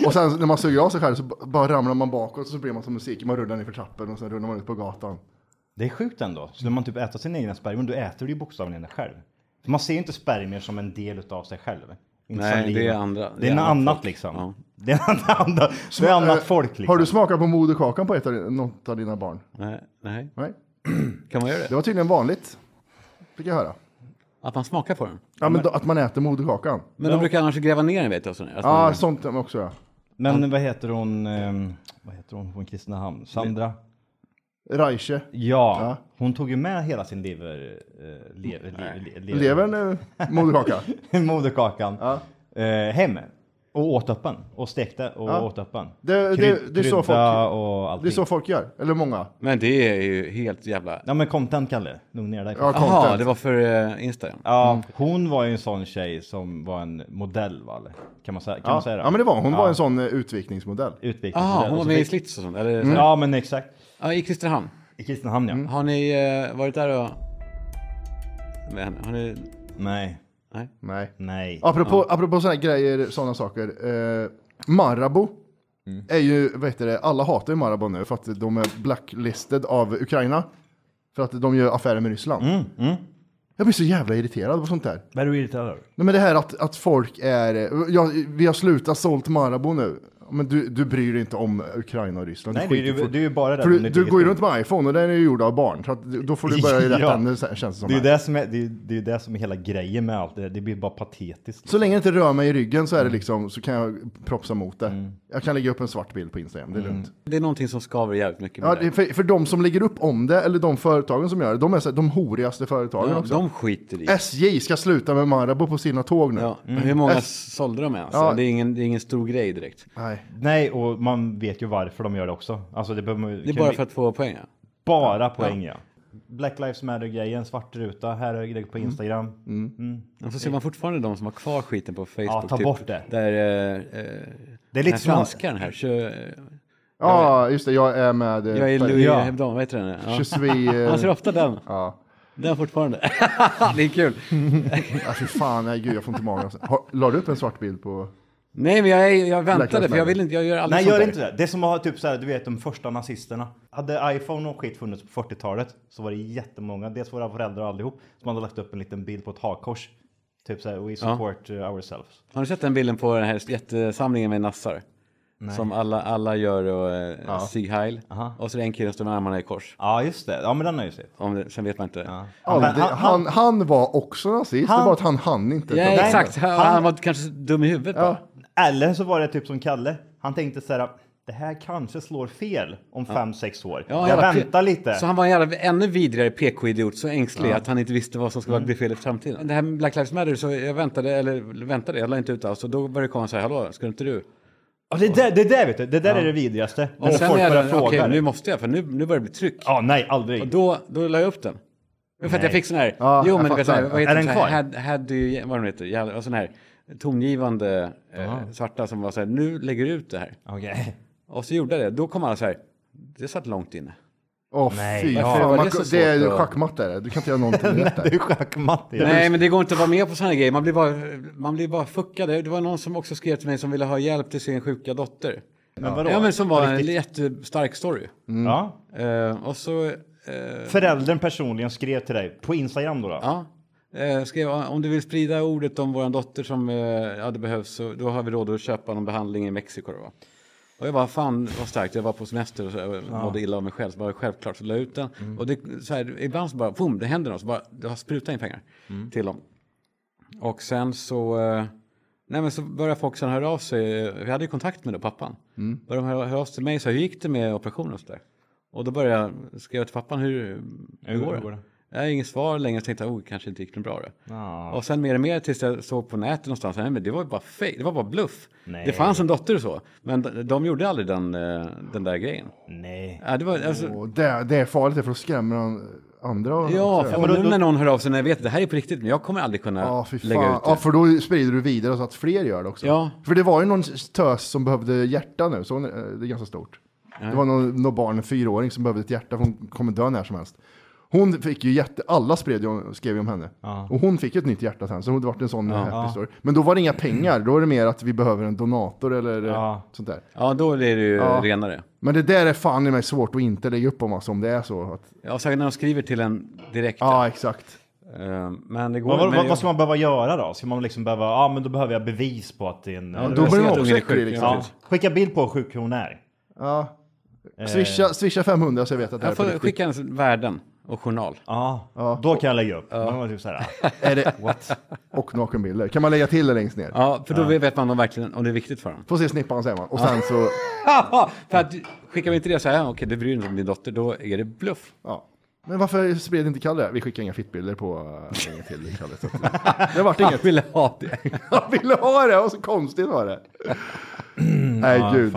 Speaker 1: och sen när man suger av sig själv så b- bara ramlar man bakåt och så blir man som musik. Man rullar ner för trappen och sen rullar man ut på gatan.
Speaker 3: Det är sjukt ändå. Skulle man typ äta sina egna spermier, då äter du ju bokstavligen dig själv. För man ser ju inte spermier som en del utav sig själv. Inte
Speaker 2: Nej,
Speaker 3: saliva.
Speaker 2: det är andra-
Speaker 3: Det är något annat liksom.
Speaker 2: Ja.
Speaker 3: (laughs) Det är något annat, det är annat
Speaker 1: Eh,
Speaker 3: folk liksom.
Speaker 1: Har du smakat på moderkakan på ett av, di- något av dina barn?
Speaker 2: Nej, nej.
Speaker 1: Nej.
Speaker 2: Kan man göra det?
Speaker 1: Det var tydligen vanligt. Fick jag höra.
Speaker 2: Att man smakar på den?
Speaker 1: Ja, men då, att man äter moderkakan.
Speaker 2: Men de brukar annars gräva ner den vet jag. Sådär. Alltså, Att
Speaker 1: Ja,
Speaker 2: man-
Speaker 1: sånt också ja.
Speaker 3: Men vad heter hon, ehm, vad heter hon från Kristinehamn? Sandra?
Speaker 1: Reiche.
Speaker 3: Ja,
Speaker 1: Ja.
Speaker 3: hon tog ju med hela sin lever... Eh, lever, lever, lever,
Speaker 1: Levern är eh, moderkaka.
Speaker 3: (laughs) moderkakan eh, hem. Och åt upp den. Och stekte och
Speaker 1: Ja.
Speaker 3: åt upp den.
Speaker 1: Det- det-
Speaker 3: Kryd-
Speaker 1: det är så
Speaker 3: krydda
Speaker 1: folk-
Speaker 3: och
Speaker 1: Det är
Speaker 3: allting.
Speaker 1: så folk gör. Eller många.
Speaker 2: Men det är ju helt jävla...
Speaker 3: Ja men content Kalle, lugna ner dig.
Speaker 1: Ja, Mm.
Speaker 3: Ja.
Speaker 2: Jaha,
Speaker 1: content.
Speaker 2: det var för eh, Instagram.
Speaker 3: hon var ju en sån tjej som var en modell va? eller? Kan man säga, kan man
Speaker 1: Ja.
Speaker 3: säga det?
Speaker 1: ja, men det var hon. var en sån eh, utvikningsmodell.
Speaker 3: Utvikningsmodell.
Speaker 2: Jaha, hon
Speaker 3: Och
Speaker 2: var
Speaker 3: så
Speaker 2: med i
Speaker 3: fick- Mm.
Speaker 2: Slits och sånt? Eller, sådär.
Speaker 3: Ja men exakt.
Speaker 2: ja, I Kristinehamn.
Speaker 3: I Kristinehamn ja.
Speaker 1: Mm.
Speaker 2: Har ni eh, varit där och... Med henne? Har ni...
Speaker 3: Nej,
Speaker 2: Nej?
Speaker 1: Nej.
Speaker 3: nej.
Speaker 1: Apropå, apropå sådana grejer, sådana saker. Eh, Marabou
Speaker 3: Mm.
Speaker 1: är ju, vad heter det, alla hatar ju Marabou nu för att de är blacklisted av Ukraina. För att de gör affärer med Ryssland.
Speaker 3: Mm.
Speaker 1: Jag blir så jävla irriterad på sånt där.
Speaker 3: Vad är du irriterad över?
Speaker 1: Nej men det här att, att folk är, ja, vi har slutat sålt Marabou nu. Men du, du bryr dig inte om Ukraina och Ryssland.
Speaker 3: Nej,
Speaker 1: Du
Speaker 3: det är ju-
Speaker 1: skiter i-
Speaker 3: det är ju bara det
Speaker 1: För
Speaker 3: där
Speaker 1: du,
Speaker 3: med
Speaker 1: du
Speaker 3: ditt
Speaker 1: går ju
Speaker 3: eget-
Speaker 1: runt med iPhone och den är ju gjord av barn. Så att, då får du
Speaker 3: (laughs)
Speaker 1: börja i rätt
Speaker 3: Ja.
Speaker 1: ände sen, känns det som.
Speaker 3: Det är ju
Speaker 1: här.
Speaker 3: det som är, det är, det är det som är hela grejen med allt det där. Det blir bara patetiskt.
Speaker 1: Så länge det inte rör mig i ryggen så är
Speaker 2: Mm.
Speaker 1: det liksom, så kan jag propsa mot det. Jag kan lägga upp en svart bild på Instagram, det är lugnt.
Speaker 2: Det är någonting som skaver jävligt mycket med
Speaker 1: Ja,
Speaker 2: det.
Speaker 1: det, för, för de som lägger upp om det, eller de företagen som gör det, de är så här, de horigaste företagen
Speaker 2: Ja,
Speaker 1: också.
Speaker 2: de skiter i.
Speaker 1: SJ ska sluta med Marabou på sina tåg nu.
Speaker 2: Ja, men Hur många sålde de ens? Alltså,
Speaker 1: Ja.
Speaker 2: Det, är ingen, det är ingen stor grej direkt.
Speaker 1: Nej.
Speaker 3: Nej, och man vet ju varför de gör det också. Alltså det behöver man ju-
Speaker 2: Det är
Speaker 3: kan
Speaker 2: bara
Speaker 3: vi-
Speaker 2: för att få poäng. ja.
Speaker 3: Bara poäng ja. Black Lives Matter-grejen, svart ruta, här är det
Speaker 2: Mm.
Speaker 3: på Instagram.
Speaker 2: Men så ser man fortfarande de som har kvar skiten på Facebook.
Speaker 3: Mm.
Speaker 2: typ,
Speaker 3: Ja, ta bort det.
Speaker 2: Där, eh, eh,
Speaker 3: Det är
Speaker 2: den här
Speaker 3: lite som-
Speaker 2: franskaren här. Kö,
Speaker 1: Ja, just det, jag är med. eh,
Speaker 2: jag är
Speaker 1: Per-
Speaker 2: Louis
Speaker 1: Ja.
Speaker 2: Hebdon, vad heter den?
Speaker 1: Je
Speaker 2: Ja.
Speaker 1: suis... eh,
Speaker 2: Han ser ofta den.
Speaker 1: Ja.
Speaker 2: Den fortfarande. (laughs) det är kul.
Speaker 1: Ja, fy fan, nej gud, jag får inte magen. alltså. Har- La du upp en svart bild på...
Speaker 2: Nej, men jag, är, jag
Speaker 1: Black
Speaker 2: väntade
Speaker 1: Lives
Speaker 2: för jag
Speaker 1: Matter.
Speaker 2: vill inte, jag gör aldrig
Speaker 3: Nej,
Speaker 2: sånt
Speaker 3: gör
Speaker 2: där.
Speaker 3: inte det. Det är som att ha typ så här, du vet de första nazisterna. Hade iPhone och skit funnits på 40-talet så var det jättemånga, dels våra föräldrar och allihop, som hade lagt upp en liten bild på ett hakkors. Typ så här, we support eh, ourselves.
Speaker 2: Har ni sett den bilden på den här jättesamlingen med nassar? Som alla, alla gör och eh, Sieg Heil. Och så är det en kille som står med armarna i kors.
Speaker 3: Ja, just det. Ja, men den har jag ju sett.
Speaker 2: Om det, sen vet man inte.
Speaker 1: Han,
Speaker 3: Men
Speaker 1: han, han, var också nazist, det
Speaker 3: Han-
Speaker 1: var att han hann inte.
Speaker 2: Ja,
Speaker 1: ta upp
Speaker 2: exakt.
Speaker 1: det.
Speaker 2: Han,
Speaker 3: han-
Speaker 2: han var kanske dum i huvudet bara.
Speaker 3: Eller så var det typ som Kalle. Han tänkte så här, det här kanske slår fel om 5-6 år. jag
Speaker 2: jävla pe-
Speaker 3: väntar lite.
Speaker 2: Så han var en jävla, ännu vidrigare PK-idiot, så ängslig att han inte visste vad som
Speaker 3: Mm.
Speaker 2: skulle bli fel i framtiden. Det här med Black Lives Matter, så jag väntade, eller väntade, jag la inte ut alls. Och då började det komma så här, hallå, ska inte du?
Speaker 3: Ja, det, där, det där vet du, det där är det vidrigaste.
Speaker 2: Och
Speaker 3: När folk
Speaker 2: är
Speaker 3: börjar
Speaker 2: det,
Speaker 3: fråga. liksom.
Speaker 2: okej,
Speaker 3: det.
Speaker 2: nu måste jag, för nu, nu börjar det bli tryck.
Speaker 3: Ja, nej,
Speaker 2: Och
Speaker 3: aldrig.
Speaker 2: då, då la jag upp den. För att jag fick sån här,
Speaker 1: Ja,
Speaker 2: jo
Speaker 1: jag
Speaker 2: men du vet, sån
Speaker 1: fattar.
Speaker 2: här, vad heter
Speaker 3: Är den
Speaker 2: så
Speaker 3: kvar?
Speaker 2: här, had, had you, vad de heter, jävla, sån här tongivande eh, svarta som var så här, nu lägger du ut det här.
Speaker 3: Okej. (laughs)
Speaker 2: Och så gjorde jag det, då kom alla så här, det satt långt inne.
Speaker 1: Åh
Speaker 3: Nej,
Speaker 1: fy
Speaker 3: ja.
Speaker 1: fan,
Speaker 2: Varför var
Speaker 1: man,
Speaker 2: det så
Speaker 1: det är
Speaker 2: svårt att-
Speaker 1: schackmatt där. Du kan inte göra någonting
Speaker 2: (laughs)
Speaker 1: rätt
Speaker 3: Det är
Speaker 1: där.
Speaker 3: schackmatt. i det.
Speaker 2: Nej, men det går inte att vara med på sådana grejer. Man blir, bara, man blir bara fuckad. Det var någon som också skrev till mig som ville ha hjälp till sin sjuka dotter.
Speaker 3: Men vadå?
Speaker 2: Ja, men som var en
Speaker 3: Riktigt-
Speaker 2: jättestark story.
Speaker 3: Ja.
Speaker 2: Eh, och så eh,
Speaker 3: Föräldern personligen skrev till dig på Instagram då? då?
Speaker 2: ja, eh, skrev om du vill sprida ordet om vår dotter som eh, ja, det behövs, så, då har vi råd att köpa någon behandling i Mexiko. Då. va? Och jag bara, fan vad starkt, jag var på semester och så, jag mådde illa av mig själv. Så bara, självklart så la jag ut den. Och det, så här, ibland så bara, boom, det händer något. Så bara, jag har sprutat in pengar till dem. Och sen så, eh, nej men så började folk sen höra av sig. Vi hade ju kontakt med då, pappan. Började de höra, höra av sig till mig, så här, hur gick det med operationen och så där? Och då började jag skriva till pappan, hur, hur, går det? Jag har inget svar längre. Jag tänkte, oh, kanske inte gick något bra då.
Speaker 3: Ja.
Speaker 2: Och sen mer och mer tills jag såg på nätet någonstans. Nej, men det var ju bara fake. Det var bara bluff.
Speaker 3: Nej.
Speaker 2: Det fanns en dotter och så. Men de, de gjorde aldrig den, eh, den där grejen.
Speaker 3: Nej.
Speaker 2: Ja, det var, alltså,
Speaker 1: Och det, det är farligt, det är för då skrämmer han andra.
Speaker 2: ja,
Speaker 1: också.
Speaker 2: för nu när någon hör av sig när jag vet att det här är på riktigt. Men jag kommer aldrig kunna
Speaker 1: Ja, fy fan.
Speaker 2: lägga ut det.
Speaker 1: Ja, för då sprider du vidare så att fler gör det också.
Speaker 2: Ja.
Speaker 1: För det var ju någon tös som behövde hjärta nu, så hon- eh, det är ganska stort. Det var någon, någon barn, en fyraåring, som behövde ett hjärta för hon kommer dö när som helst. Hon fick ju jätte, alla spred ju, skrev ju om henne. Och hon fick ju ett nytt hjärta sen, så det vart en sån happy story. Men då var det inga pengar, då är det mer att vi behöver en donator eller eh,
Speaker 3: Ja.
Speaker 1: sånt där.
Speaker 2: Ja, då är det ju
Speaker 1: Ja.
Speaker 2: renare.
Speaker 1: Men det där är fan i mig svårt att inte lägga upp om, alltså, om det är så. Att,
Speaker 2: Ja, särskilt när de skriver till en direkt.
Speaker 1: ja, exakt.
Speaker 2: Eh, Men det går
Speaker 3: Vad, vad,
Speaker 2: men
Speaker 3: vad,
Speaker 2: jag-
Speaker 3: vad ska man behöva göra då? Ska man liksom behöva, ja ah, men då behöver jag bevis på att det är en...
Speaker 2: Ja,
Speaker 1: Då
Speaker 2: jag
Speaker 1: blir
Speaker 2: ser
Speaker 1: man
Speaker 2: att
Speaker 1: också
Speaker 2: ungen är
Speaker 1: äcklig,
Speaker 2: sjuk,
Speaker 1: liksom.
Speaker 3: ja. Skicka bild på hur sjuk hon är. Eh,
Speaker 1: Ja. Swisha, swisha 500 så jag vet att det här
Speaker 2: Jag
Speaker 1: är på
Speaker 2: Eh. får
Speaker 1: riktigt.
Speaker 2: skicka en värden och journal.
Speaker 3: Ja, då kan jag lägga upp. Men det var typ så här,
Speaker 1: Är det, och nakenbilder. Kan man lägga till det längst ner?
Speaker 2: Ja, för då vet man om, verkligen, om det är viktigt för dem.
Speaker 1: Får se snippan säger man. Och sen så,
Speaker 2: Haha, (laughs) för att skickar vi inte det så här, okej, du bryr dig inte om din dotter, då är det bluff.
Speaker 1: ja. Men varför spred inte Kalle det? Vi skickar inga fittbilder på äh, inget till Kalle. Så att, det vart
Speaker 2: Han (laughs)
Speaker 1: inget.
Speaker 2: ville ha det.
Speaker 1: Han ville ha det och så konstigt var
Speaker 2: (clears throat)
Speaker 1: det. Nej gud.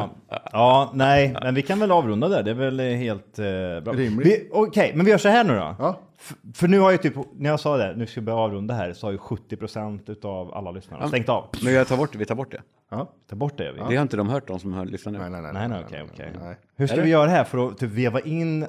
Speaker 3: Ja, nej, men vi kan väl avrunda där. Det är väl helt eh, bra.
Speaker 1: Rimligt.
Speaker 3: Vi- Okej, men vi gör så här nu då.
Speaker 1: Ja.
Speaker 3: F- för nu har ju typ, när jag sa det, nu ska vi börja avrunda här, så har ju 70% av alla lyssnare stängt av.
Speaker 2: Men jag tar bort det, vi tar bort det.
Speaker 1: Ja.
Speaker 3: Ta bort det. gör Vi.
Speaker 2: Det har inte de hört, de som hör, lyssnar nu.
Speaker 1: Nej, nej, nej.
Speaker 3: Nej, nej, okej, okej.
Speaker 1: nej.
Speaker 3: Hur ska
Speaker 2: Eller?
Speaker 3: vi göra här för att typ veva in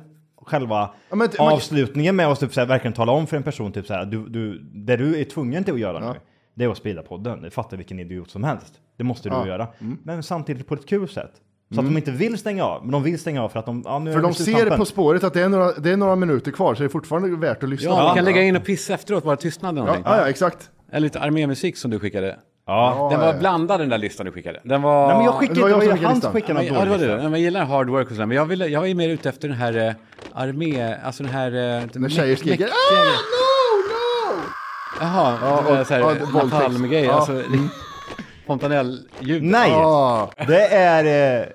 Speaker 3: själva
Speaker 1: Ja, men t- man-
Speaker 3: avslutningen med oss typ så här, verkligen tala om för en person typ så här, du, du, det du är tvungen till att göra nu, det är att sprida podden. Det fattar vilken idiot som helst. Det måste du göra.
Speaker 1: Mm.
Speaker 3: Men samtidigt på ett kul sätt. Så att de inte vill stänga av, men de vill stänga av för att de, ja, nu är
Speaker 1: För
Speaker 3: det
Speaker 1: de
Speaker 3: sluttampen.
Speaker 1: ser På spåret att det är, några, det är några minuter kvar så det är fortfarande värt att lyssna.
Speaker 2: Ja,
Speaker 1: på.
Speaker 2: vi kan lägga in och pissa efteråt, bara tystnad eller
Speaker 1: Ja,
Speaker 2: någonting.
Speaker 1: ja, ja, exakt.
Speaker 2: Eller lite armémusik som du skickade.
Speaker 3: Ja.
Speaker 2: Den
Speaker 1: ja,
Speaker 2: var
Speaker 1: ja.
Speaker 2: blandad den där listan du skickade. Den var...
Speaker 3: Nej, men jag skickade
Speaker 1: Det var jag
Speaker 3: inte, det var
Speaker 1: som
Speaker 3: ju han som
Speaker 1: skickade
Speaker 3: skickade
Speaker 2: Ja, men- ja, det var
Speaker 3: den
Speaker 2: det.
Speaker 1: liksom.
Speaker 2: Nej,
Speaker 3: dåliga.
Speaker 2: men Jag gillar hard work och sådär, men jag, ville, jag var ju mer ute efter den här eh, armé... Alltså den här... Eh,
Speaker 1: När tjejer skriker
Speaker 2: mäktiga-
Speaker 1: ah, no, no!
Speaker 2: Jaha,
Speaker 1: Ja,
Speaker 2: ja,
Speaker 1: och-
Speaker 2: och, så här,
Speaker 1: ja,
Speaker 2: ja,
Speaker 1: det- våldtäkt.
Speaker 2: napalmgrejer.
Speaker 1: Ja. Mm.
Speaker 2: Alltså, fontanell-ljud.
Speaker 3: Nej!
Speaker 1: Ah.
Speaker 3: Det är... Eh,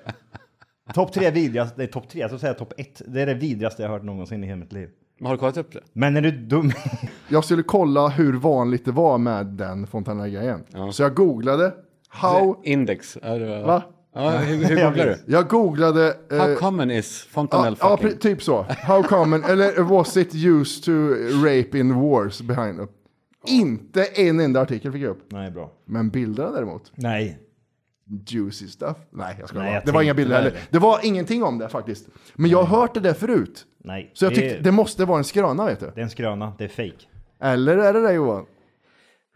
Speaker 3: topp tre vidrigaste, det är topp tre, jag skulle säga topp ett. Det är det vidrigaste jag hört någonsin i hela mitt liv.
Speaker 2: Men Har du kollat upp det?
Speaker 3: Men är du dum? (laughs)
Speaker 1: Jag skulle kolla hur vanligt det var med den Fontana-grejen. Så jag googlade. How...
Speaker 2: Index. Ja, det var...
Speaker 1: Va?
Speaker 2: Ja, hur, hur googlar du?
Speaker 1: (laughs) Jag googlade... eh,
Speaker 2: How common is fontanell
Speaker 1: Ja, ja,
Speaker 2: fucking?
Speaker 1: pre- typ så. How common, eller was it used to rape in wars behind up? Inte en enda artikel fick jag upp.
Speaker 3: Nej, bra.
Speaker 1: Men bilderna däremot,
Speaker 3: Nej.
Speaker 1: juicy stuff. Nej, jag skojar
Speaker 3: Nej,
Speaker 1: bara.
Speaker 3: jag
Speaker 1: Det var inga
Speaker 3: tänkte
Speaker 1: bilder
Speaker 3: väl.
Speaker 1: heller. Det var ingenting om det faktiskt. Men jag har hört det där förut.
Speaker 3: Nej.
Speaker 1: Så jag
Speaker 3: det,
Speaker 1: tyckte det måste vara en skröna vet du.
Speaker 3: det är en skröna, det är fake.
Speaker 1: Eller är det det Johan?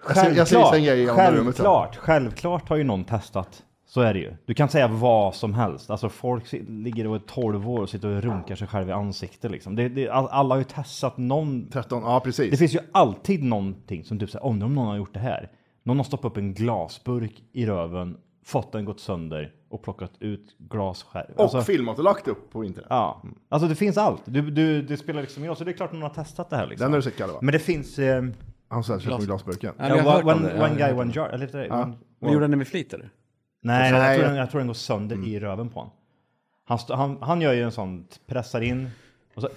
Speaker 1: Jag ser- jag ser en grej i andra rummet sen.
Speaker 3: Alltså, självklart, självklart har ju någon testat. Så är det ju. Du kan säga vad som helst. Alltså folk si- ligger och är 12 år och sitter och runkar sig själva i ansiktet liksom. Det, det, all- alla har ju testat någon
Speaker 1: 13, ja
Speaker 3: Det
Speaker 1: precis.
Speaker 3: finns ju alltid någonting som typ säger undrar om någon har gjort det här. Någon har stoppat upp en glasburk i röven, fått den gått sönder och plockat ut glasskärv.
Speaker 1: Och
Speaker 3: Alltså,
Speaker 1: filmat och lagt upp på internet.
Speaker 3: ja. alltså det finns allt. Du, du, det spelar liksom ingen roll. Så det är klart någon har testat det här liksom.
Speaker 1: Den har du sett Kalle va?
Speaker 3: Men det finns... Eh,
Speaker 1: Han satt sig på glasburken.
Speaker 2: Ja, men jag har
Speaker 3: ja,
Speaker 2: hört om
Speaker 3: one,
Speaker 2: det.
Speaker 3: one
Speaker 2: Ja,
Speaker 3: guy, one jar. Eller, ja. one,
Speaker 2: Men gjorde han det med flit eller?
Speaker 3: nej, nej, jag,
Speaker 1: Nej, Mm.
Speaker 3: tror
Speaker 1: jag-
Speaker 3: den, jag tror den går sönder i röven på honom. Han, stå- han, han gör ju en sån, pressar in och så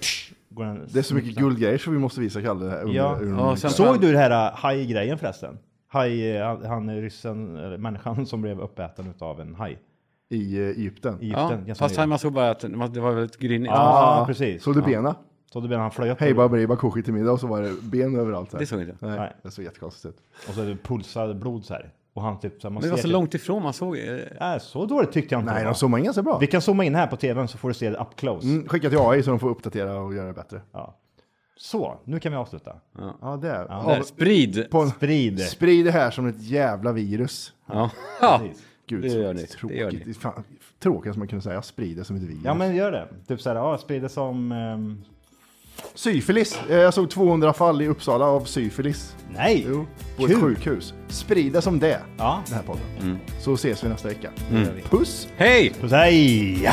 Speaker 3: går den...
Speaker 1: Det är så mycket guldgrejer så vi måste visa Kalle det här under,
Speaker 3: Ja.
Speaker 1: under
Speaker 2: Ja, sen-
Speaker 3: Såg du det här äh, hajgrejen förresten? Haj, eh, han- han är ryssen, eller människan (laughs) som blev uppäten av en haj
Speaker 1: i eh, Egypten.
Speaker 3: i
Speaker 2: Ja,
Speaker 3: Egypten. ganska
Speaker 2: fast
Speaker 3: nyligen.
Speaker 2: han såg bara att den- att det var väldigt grinigt.
Speaker 3: Ja, precis.
Speaker 1: Såg du bena?
Speaker 3: Så du menar han flög upp?
Speaker 1: Hej Babba Ribba Koshi till middag och så var det ben överallt. Så här.
Speaker 2: Det såg jag inte.
Speaker 1: Nej,
Speaker 3: Nej.
Speaker 1: det såg jättekonstigt ut.
Speaker 3: Och så är det pulsade blod så här. Och han typ så här, man
Speaker 2: Men det var
Speaker 3: ser
Speaker 2: så
Speaker 3: typ-
Speaker 2: långt ifrån man såg. eh,
Speaker 3: Nej, så dåligt tyckte jag inte
Speaker 1: Nej,
Speaker 3: det
Speaker 1: de
Speaker 3: var.
Speaker 1: zoomade in ganska bra.
Speaker 3: Vi kan zooma in här på tvn så får du se det up close.
Speaker 1: Mm, skicka till AI så de får uppdatera och göra det bättre.
Speaker 3: Ja. Så, nu kan vi avsluta.
Speaker 1: Ja, det är.
Speaker 2: Där,
Speaker 1: Ja,
Speaker 2: sprid!
Speaker 1: på,
Speaker 3: Sprid.
Speaker 1: sprid det här som ett jävla virus.
Speaker 2: Ja. Ja.
Speaker 3: Precis.
Speaker 1: Gud,
Speaker 2: Det gör ni.
Speaker 1: så
Speaker 2: Det gör
Speaker 1: tråkigt.
Speaker 2: ni.
Speaker 1: Fan, tråkigt som man kunde säga. Sprid det som ett virus.
Speaker 3: Ja men gör det. Typ så här, ja, sprid det som... ehm,
Speaker 1: Syfilis. Eh, Jag såg 200 fall i Uppsala av syfilis.
Speaker 3: Nej!
Speaker 1: Jo, på
Speaker 3: Kul.
Speaker 1: ett sjukhus. Sprid det som det.
Speaker 3: Ja. Mm.
Speaker 1: Den här podden. Så ses vi nästa vecka. Puss!
Speaker 2: Hej!
Speaker 3: Puss hej!